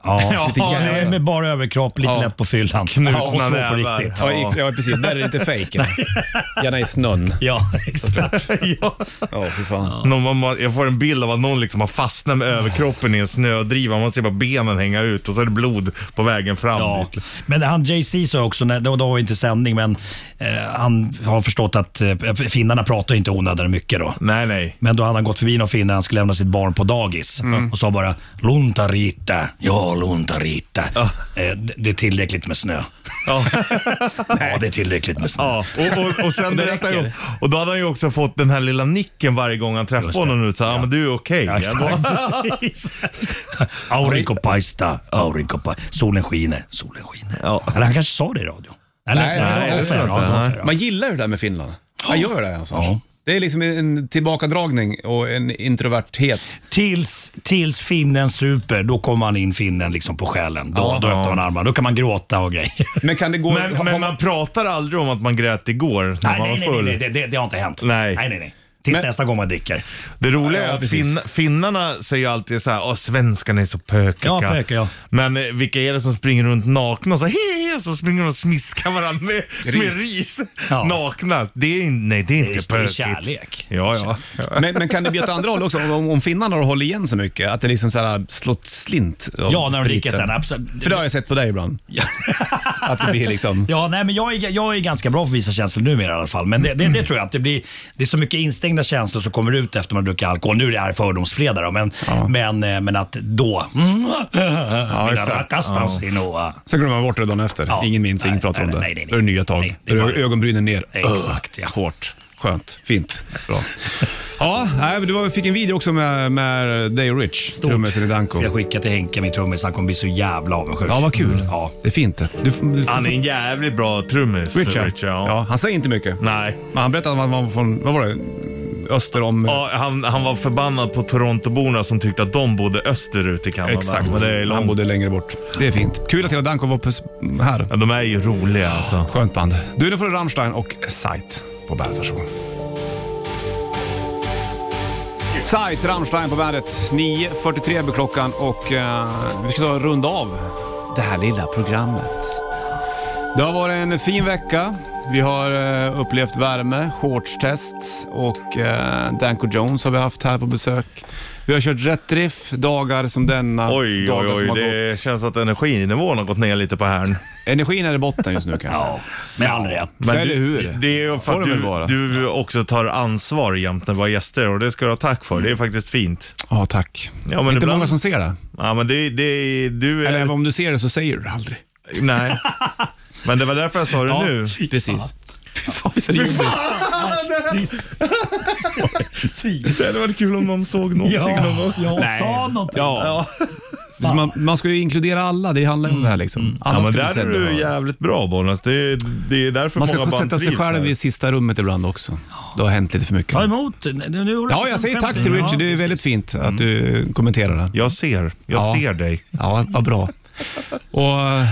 [SPEAKER 5] Ja,
[SPEAKER 2] Lite jävla-
[SPEAKER 5] det är med bara överkropp, lite
[SPEAKER 2] Ja.
[SPEAKER 5] lätt på fyllan.
[SPEAKER 2] Knutna
[SPEAKER 5] och slå på
[SPEAKER 2] nävar.
[SPEAKER 5] riktigt.
[SPEAKER 2] Ja, i- ja, precis. Där är det inte fake. Gärna i snön.
[SPEAKER 5] Ja, exakt.
[SPEAKER 3] ja.
[SPEAKER 2] Ja, fy fan.
[SPEAKER 3] Någon, man- man, jag får en bild av att någon liksom har fastnat med överkroppen i en snödriva. Man ser bara benen hänga ut och så är det blod på vägen fram.
[SPEAKER 5] Ja.
[SPEAKER 3] dit.
[SPEAKER 5] Men han Jay-Z sa också, när- då, då var det inte sändning, men eh, han har förstått att eh, finnarna pratar inte onödigt mycket då.
[SPEAKER 3] Nej, nej.
[SPEAKER 5] Men då hade han gått förbi någon finne, han skulle lämna sitt barn på dagis och sa bara “Luntarita, ja luntarita”. Eh, det, det är tillräckligt med snö.
[SPEAKER 3] Ja,
[SPEAKER 5] det är tillräckligt med snö.
[SPEAKER 3] Ja, och, och, och sen
[SPEAKER 5] Det
[SPEAKER 3] berättar jag,
[SPEAKER 5] räcker.
[SPEAKER 3] och då hade han ju också fått den här lilla nicken varje gång han träffade honom nu. Så, ja. men du är okej.
[SPEAKER 5] Ja, exakt, precis. Aurinkopaista, aurinkopaista. Solen skiner, solen skiner. Eller han kanske sa det i radio. Eller,
[SPEAKER 2] Nej, nej,
[SPEAKER 5] det var
[SPEAKER 2] det tror jag
[SPEAKER 5] off-air, ja,
[SPEAKER 2] inte.
[SPEAKER 5] det var off-air, ja.
[SPEAKER 2] Man gillar ju det där med Finland. Man gör det någonstans. Det är liksom en tillbakadragning och en introverthet.
[SPEAKER 5] Tills, tills finnen super, då kommer man in finnen liksom på själen. Då,
[SPEAKER 2] Ja.
[SPEAKER 5] då öppnar
[SPEAKER 2] Ja.
[SPEAKER 5] man armarna, då kan man gråta och grejer.
[SPEAKER 2] Men kan det gå...
[SPEAKER 3] Men, men man pratar aldrig om att man grät igår när
[SPEAKER 5] Nej, nej,
[SPEAKER 3] man var
[SPEAKER 5] nej,
[SPEAKER 3] full.
[SPEAKER 5] nej, det, det, det har inte hänt.
[SPEAKER 3] Nej.
[SPEAKER 5] nej, nej. nej. Tills nästa gång man dricker.
[SPEAKER 3] Det roliga
[SPEAKER 5] Ja,
[SPEAKER 3] är att
[SPEAKER 5] precis.
[SPEAKER 3] fin, finnarna säger alltid så här, Åh, svenskarna är så pökiga.
[SPEAKER 5] Ja, pökiga, ja.
[SPEAKER 3] Men eh, vilka är det som springer runt nakna och så, här, "Hehe", så springer de och smiskar varandra med ris. Med ris. Nakna. Det är, in- nej, det är inte
[SPEAKER 5] det är
[SPEAKER 3] pökigt.
[SPEAKER 5] kärlek.
[SPEAKER 3] Ja, ja.
[SPEAKER 2] Men, men kan det bli åt andra hållet också? Om, om finnarna håller igen så mycket, att det liksom så här slår slint av
[SPEAKER 5] Ja, när de dricker
[SPEAKER 2] spriten.
[SPEAKER 5] sen, absolut.
[SPEAKER 2] För det har jag sett på dig ibland. att det blir liksom...
[SPEAKER 5] Ja, nej, men jag är, jag är ganska bra på att visa känslor numera i alla fall. Men det, det,
[SPEAKER 2] Mm.
[SPEAKER 5] det tror jag att det blir. Det är så mycket instängda känslor som kommer ut efter man druckit alkohol. Nu är det här fördomsfredag då, men, men, eh, men att då... Mm,
[SPEAKER 2] Ja, exakt.
[SPEAKER 5] Kastas
[SPEAKER 2] Ja.
[SPEAKER 5] i Noa.
[SPEAKER 2] Sen glömmer man bort det dagen efter.
[SPEAKER 5] Ja.
[SPEAKER 2] Ingen minns, ingen
[SPEAKER 5] Nej,
[SPEAKER 2] pratar om
[SPEAKER 5] nej,
[SPEAKER 2] det.
[SPEAKER 5] nej, nej, nej.
[SPEAKER 2] Då är det nya tag.
[SPEAKER 5] Nej, det är
[SPEAKER 2] Då är
[SPEAKER 5] bara-
[SPEAKER 2] ögonbrynen ner.
[SPEAKER 5] Exakt, ja.
[SPEAKER 2] Hårt. Skönt. Fint. Bra. ja, nej, men du var- fick en video också med, med Day Rich, trummisen i Danko.
[SPEAKER 5] Ska jag skicka till Henke, min trummis. Han kommer bli så jävla avundsjuk.
[SPEAKER 2] Ja, vad kul. Ja. Det är fint det. Du, får- du, får-
[SPEAKER 3] Han är en jävligt bra trummis.
[SPEAKER 2] Richard.
[SPEAKER 3] Richard,
[SPEAKER 2] ja.
[SPEAKER 3] ja.
[SPEAKER 2] han säger inte mycket.
[SPEAKER 3] Nej.
[SPEAKER 2] Men han berättade att han var från, vad var det? Öster om...
[SPEAKER 3] Ja, han, han var förbannad på Torontoborna som tyckte att de bodde österut i Kanada.
[SPEAKER 2] Exakt.
[SPEAKER 3] Men det är
[SPEAKER 2] han
[SPEAKER 3] långt.
[SPEAKER 2] bodde längre bort. Det är fint. Kul att hela Danko var på- här.
[SPEAKER 3] Ja, de är ju roliga alltså.
[SPEAKER 2] Skönt band. Du, nu får du Rammstein och Sight på Bandet. Varsågod. Sight, Rammstein på bandet. 9.43 blir klockan och eh, vi ska ta och runda av det här lilla programmet. Det har varit en fin vecka. Vi har eh, upplevt värme, shortstest och eh, Danko Jones har vi haft här på besök. Vi har kört rätt riff dagar som denna.
[SPEAKER 3] Oj, oj,
[SPEAKER 2] dagar
[SPEAKER 3] oj.
[SPEAKER 2] som har
[SPEAKER 3] Det
[SPEAKER 2] gått.
[SPEAKER 3] känns att energinivån har gått ner lite på härn.
[SPEAKER 2] Energin är i botten just nu kan jag säga. Ja,
[SPEAKER 5] med all rätt.
[SPEAKER 3] Men
[SPEAKER 2] Eller
[SPEAKER 3] du,
[SPEAKER 2] hur?
[SPEAKER 3] Det är
[SPEAKER 2] Får
[SPEAKER 3] ju för
[SPEAKER 2] de väl vara.
[SPEAKER 3] att du, du också tar ansvar jämt när vi har gäster och det ska du ha tack för. Det är faktiskt fint.
[SPEAKER 2] Ja, tack.
[SPEAKER 3] Ja, men
[SPEAKER 2] Mm. Inte
[SPEAKER 3] ibland- Eh,
[SPEAKER 2] många som ser det.
[SPEAKER 3] Ja, men det, det, du är...
[SPEAKER 2] Eller om du ser det så säger du det aldrig.
[SPEAKER 3] Nej. Men det var därför jag sa det
[SPEAKER 2] Ja,
[SPEAKER 3] nu.
[SPEAKER 2] Precis.
[SPEAKER 3] Fy fan! Det hade varit kul om någon såg någonting. någon gång.
[SPEAKER 2] Nej. Ja. Så Man, man ska ju inkludera alla, det handlar ju om det här liksom. Alla
[SPEAKER 3] Mm. Ja, men
[SPEAKER 2] ska bli
[SPEAKER 3] där är
[SPEAKER 2] sedda.
[SPEAKER 3] du jävligt bra Bollnäs. Det, det är därför
[SPEAKER 2] Man ska
[SPEAKER 3] många band
[SPEAKER 2] sätta sig
[SPEAKER 3] trivs här.
[SPEAKER 2] själv i sista rummet ibland också. Det har hänt lite för mycket.
[SPEAKER 5] Ta emot. Nu, nu har du
[SPEAKER 2] Ja, jag säger tack till Richard. Det är väldigt fint
[SPEAKER 3] Mm.
[SPEAKER 2] att du kommenterar det.
[SPEAKER 3] Jag ser. Jag ser dig.
[SPEAKER 2] Ja, vad bra. Och eh,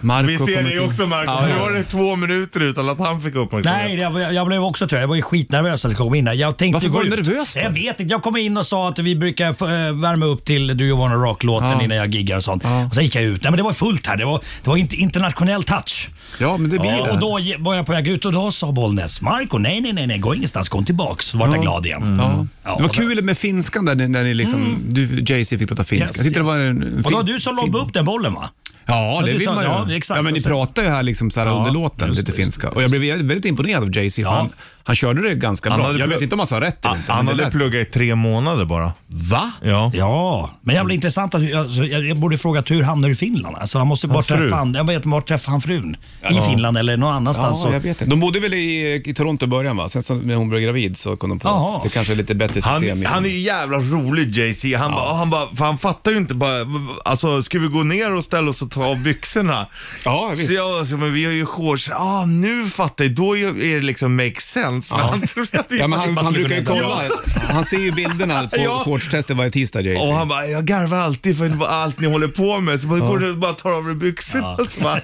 [SPEAKER 2] Marco
[SPEAKER 3] Vi ser
[SPEAKER 2] kommer
[SPEAKER 3] dig
[SPEAKER 2] till-
[SPEAKER 3] också Marco.
[SPEAKER 2] Ja,
[SPEAKER 3] Nu
[SPEAKER 2] ja.
[SPEAKER 3] var det två minuter utan att han fick uppmärksamhet.
[SPEAKER 5] Nej, jag, jag- jag blev också trött. Jag var ju skitnervös när jag kom in där. Jag tänkte
[SPEAKER 3] Varför
[SPEAKER 5] gå
[SPEAKER 3] var du
[SPEAKER 5] ut.
[SPEAKER 3] nervös för?
[SPEAKER 5] Jag vet inte. Jag kom in och sa att vi brukar få, eh, värma upp till Do You Wanna Rock-låten
[SPEAKER 2] Ja.
[SPEAKER 5] innan jag giggar och sånt. Och sen gick jag ut. Nej, men det var fullt här. Det var, det var inte internationell touch.
[SPEAKER 2] Ja, men det blir det.
[SPEAKER 5] Och då ge- var jag på väg ut och då sa Bollnäs, Marco nej, nej, nej, nej, gå ingenstans, gå tillbaks. Så vart jag
[SPEAKER 2] Ja.
[SPEAKER 5] glad igen.
[SPEAKER 2] Ja.
[SPEAKER 5] Ja,
[SPEAKER 2] det var
[SPEAKER 5] och sen-
[SPEAKER 2] kul med finskan där, när ni liksom, du Jay-Z fick prata finska.
[SPEAKER 5] Yes,
[SPEAKER 2] jag tyckte
[SPEAKER 5] yes.
[SPEAKER 2] det var en, en
[SPEAKER 5] Och då var
[SPEAKER 2] fin-
[SPEAKER 5] du som
[SPEAKER 2] fin-
[SPEAKER 5] lobbade upp den bollen va?
[SPEAKER 2] Ja,
[SPEAKER 5] Ja,
[SPEAKER 2] det
[SPEAKER 5] du
[SPEAKER 2] vill
[SPEAKER 5] sa-
[SPEAKER 2] man ju.
[SPEAKER 5] ja, exakt.
[SPEAKER 2] ja, men ni
[SPEAKER 5] Och sen-
[SPEAKER 2] pratar ju här liksom så här
[SPEAKER 5] Ja,
[SPEAKER 2] under låten,
[SPEAKER 5] just
[SPEAKER 2] lite
[SPEAKER 5] det,
[SPEAKER 2] finska. Och jag blev väldigt imponerad av Jay-Z, för
[SPEAKER 5] Ja.
[SPEAKER 2] han, han körde det ganska
[SPEAKER 3] Han
[SPEAKER 2] bra.
[SPEAKER 3] hade
[SPEAKER 2] Jag
[SPEAKER 3] plugg-
[SPEAKER 2] vet inte om han sa rätt eller inte.
[SPEAKER 3] Han
[SPEAKER 2] men det
[SPEAKER 3] hade
[SPEAKER 2] lät-
[SPEAKER 3] pluggat i tre månader bara.
[SPEAKER 2] Va?
[SPEAKER 3] Ja.
[SPEAKER 5] Ja, Men
[SPEAKER 2] Mm.
[SPEAKER 5] jävla intressant att alltså, jag, jag borde fråga hur hamnar du i Finland? Alltså, han måste bara
[SPEAKER 2] Hans fru.
[SPEAKER 5] träffa, han, jag vet, var träffade han frun? I
[SPEAKER 2] Ja.
[SPEAKER 5] Finland eller någon annanstans?
[SPEAKER 2] Ja,
[SPEAKER 5] Så-
[SPEAKER 2] jag vet inte. Alltså, De bodde väl i, i Toronto i början va? Sen så, när hon blev gravid så kom de på
[SPEAKER 3] Jaha.
[SPEAKER 2] att det kanske är lite bättre system.
[SPEAKER 3] Han,
[SPEAKER 2] i-
[SPEAKER 3] han är ju jävla rolig Jay-Z. Han, bara- han, bara- för han fattar ju inte bara, alltså ska vi gå ner och ställa oss och ta av byxorna?
[SPEAKER 2] Ja,
[SPEAKER 3] visst. Så jag, så, men vi har ju shorts. Ah, nu fattar jag. Då är det liksom make sense. Men
[SPEAKER 2] Ja.
[SPEAKER 3] han trodde att vi
[SPEAKER 2] Ja, men han,
[SPEAKER 3] bara
[SPEAKER 2] han
[SPEAKER 3] skulle
[SPEAKER 2] brukar ju
[SPEAKER 3] kunna-
[SPEAKER 2] kolla.
[SPEAKER 3] Ja.
[SPEAKER 2] Han ser ju bilderna på
[SPEAKER 3] Ja.
[SPEAKER 2] shortstestet varje tisdag Jay-Z.
[SPEAKER 3] Och han bara, jag garvar alltid för allt ni håller på med. Så bara,
[SPEAKER 2] Ja.
[SPEAKER 3] går du och bara tar av dig byxorna. Så bara,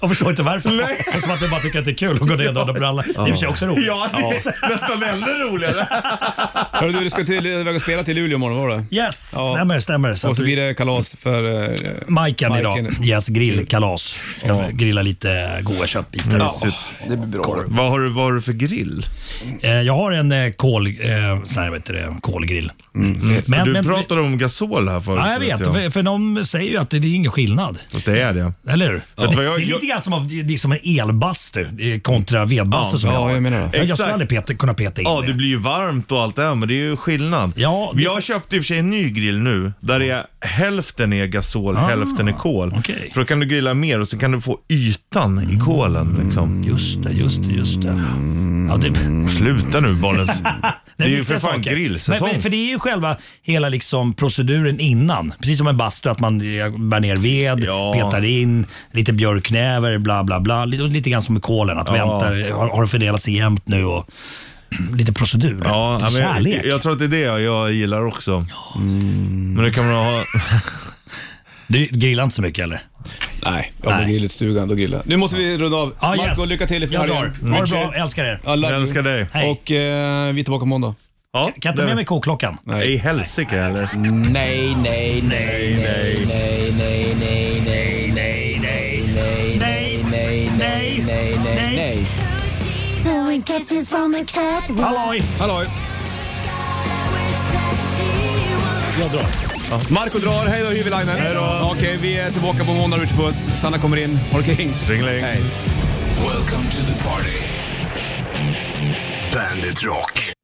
[SPEAKER 5] Jag förstår inte varför. Det är som att jag bara tycker att det är kul att gå ner och döda brallor. Det är i och för sig också roligt.
[SPEAKER 3] Ja, det är nästan ännu roligare.
[SPEAKER 2] Hörru du, du ska till, iväg och spela till Luleå imorgon, var det?
[SPEAKER 5] Yes, stämmer, stämmer. Så
[SPEAKER 2] och så
[SPEAKER 5] att vi-
[SPEAKER 2] blir det kalas för... eh,
[SPEAKER 5] Majken idag.
[SPEAKER 2] Majken.
[SPEAKER 5] Yes, grillkalas. Ska vi grilla lite goda köttbitar.
[SPEAKER 3] Ja, det blir bra. Vad har, du, vad har du för grill?
[SPEAKER 5] Eh, Jag har en eh, kol, eh, sån här, vad heter det, kolgrill. Mm. Men-
[SPEAKER 3] Mm. du
[SPEAKER 5] men-
[SPEAKER 3] pratade om gasol här förut.
[SPEAKER 5] Ja, jag vet, för, för de säger ju att det, det är ingen skillnad.
[SPEAKER 3] Att det är det.
[SPEAKER 5] Eller hur?
[SPEAKER 3] du vad jag-
[SPEAKER 5] det är lite grann som, av, det är som en elbastu eh, kontra vedbastu
[SPEAKER 3] Ja,
[SPEAKER 5] som
[SPEAKER 3] ja,
[SPEAKER 5] jag har.
[SPEAKER 3] jag menar det.
[SPEAKER 5] Jag
[SPEAKER 3] Exakt.
[SPEAKER 5] skulle aldrig peta, kunna peta in
[SPEAKER 3] Ja,
[SPEAKER 5] det.
[SPEAKER 3] det blir ju varmt och allt det här, men det är ju skillnad.
[SPEAKER 5] Ja, det-
[SPEAKER 3] Jag köpte i och för sig en ny grill nu, där är, hälften är
[SPEAKER 5] Ah,
[SPEAKER 3] gasol, hälften är kol. För då kan du grilla mer och så kan du få ytan
[SPEAKER 5] Mm.
[SPEAKER 3] i kolen. Liksom.
[SPEAKER 5] Just det, just det, just det. Ja,
[SPEAKER 3] Mm.
[SPEAKER 5] det...
[SPEAKER 3] Sluta nu Bollens. det är ju för
[SPEAKER 5] viktiga
[SPEAKER 3] fan
[SPEAKER 5] saker.
[SPEAKER 3] grillsäsong.
[SPEAKER 5] Men, men, för det är ju själva hela liksom proceduren innan. Precis som en bastu, att man eh, bär ner ved, petar in, lite björknäver, bla bla bla. Lite, lite grann som med kolen, att
[SPEAKER 3] Ja.
[SPEAKER 5] vänta, har, har det fördelat sig jämnt nu och lite procedur.
[SPEAKER 3] Ja,
[SPEAKER 5] lite
[SPEAKER 3] ja, men
[SPEAKER 5] kärlek.
[SPEAKER 3] jag, jag tror att det är det jag, jag gillar också. Men det kan man ha...
[SPEAKER 5] Du grillar inte så mycket eller?
[SPEAKER 2] Nej, jag har grillat stugan, då grillar jag. Nu måste vi runda av.
[SPEAKER 5] Ah, yes.
[SPEAKER 2] Marco, lycka till i
[SPEAKER 5] Jag drar.
[SPEAKER 2] helgen.
[SPEAKER 5] Ha det bra, älskar er.
[SPEAKER 2] I love
[SPEAKER 3] Jag
[SPEAKER 2] you.
[SPEAKER 3] älskar dig.
[SPEAKER 5] Hej.
[SPEAKER 2] Och eh, vi är tillbaka på måndag.
[SPEAKER 3] Ja,
[SPEAKER 5] Kan jag ta med mig koklockan?
[SPEAKER 3] Nej, i helsike eller?
[SPEAKER 2] Nej, nej, nej, nej, nej, nej, nej, nej, nej, nej, nej, nej, nej, nej, nej, nej, nej.
[SPEAKER 21] Blowing kisses from the catwalk.
[SPEAKER 5] Halloj!
[SPEAKER 2] Halloj! Jag drar. Marco drar. Hej då Hyvilainen. Hej då. Okej, vi är tillbaka på måndag ute på buss. Sanna kommer in. Håll kring.
[SPEAKER 3] Stringling.
[SPEAKER 2] Hej.
[SPEAKER 1] Welcome to the party. Bandit Rock.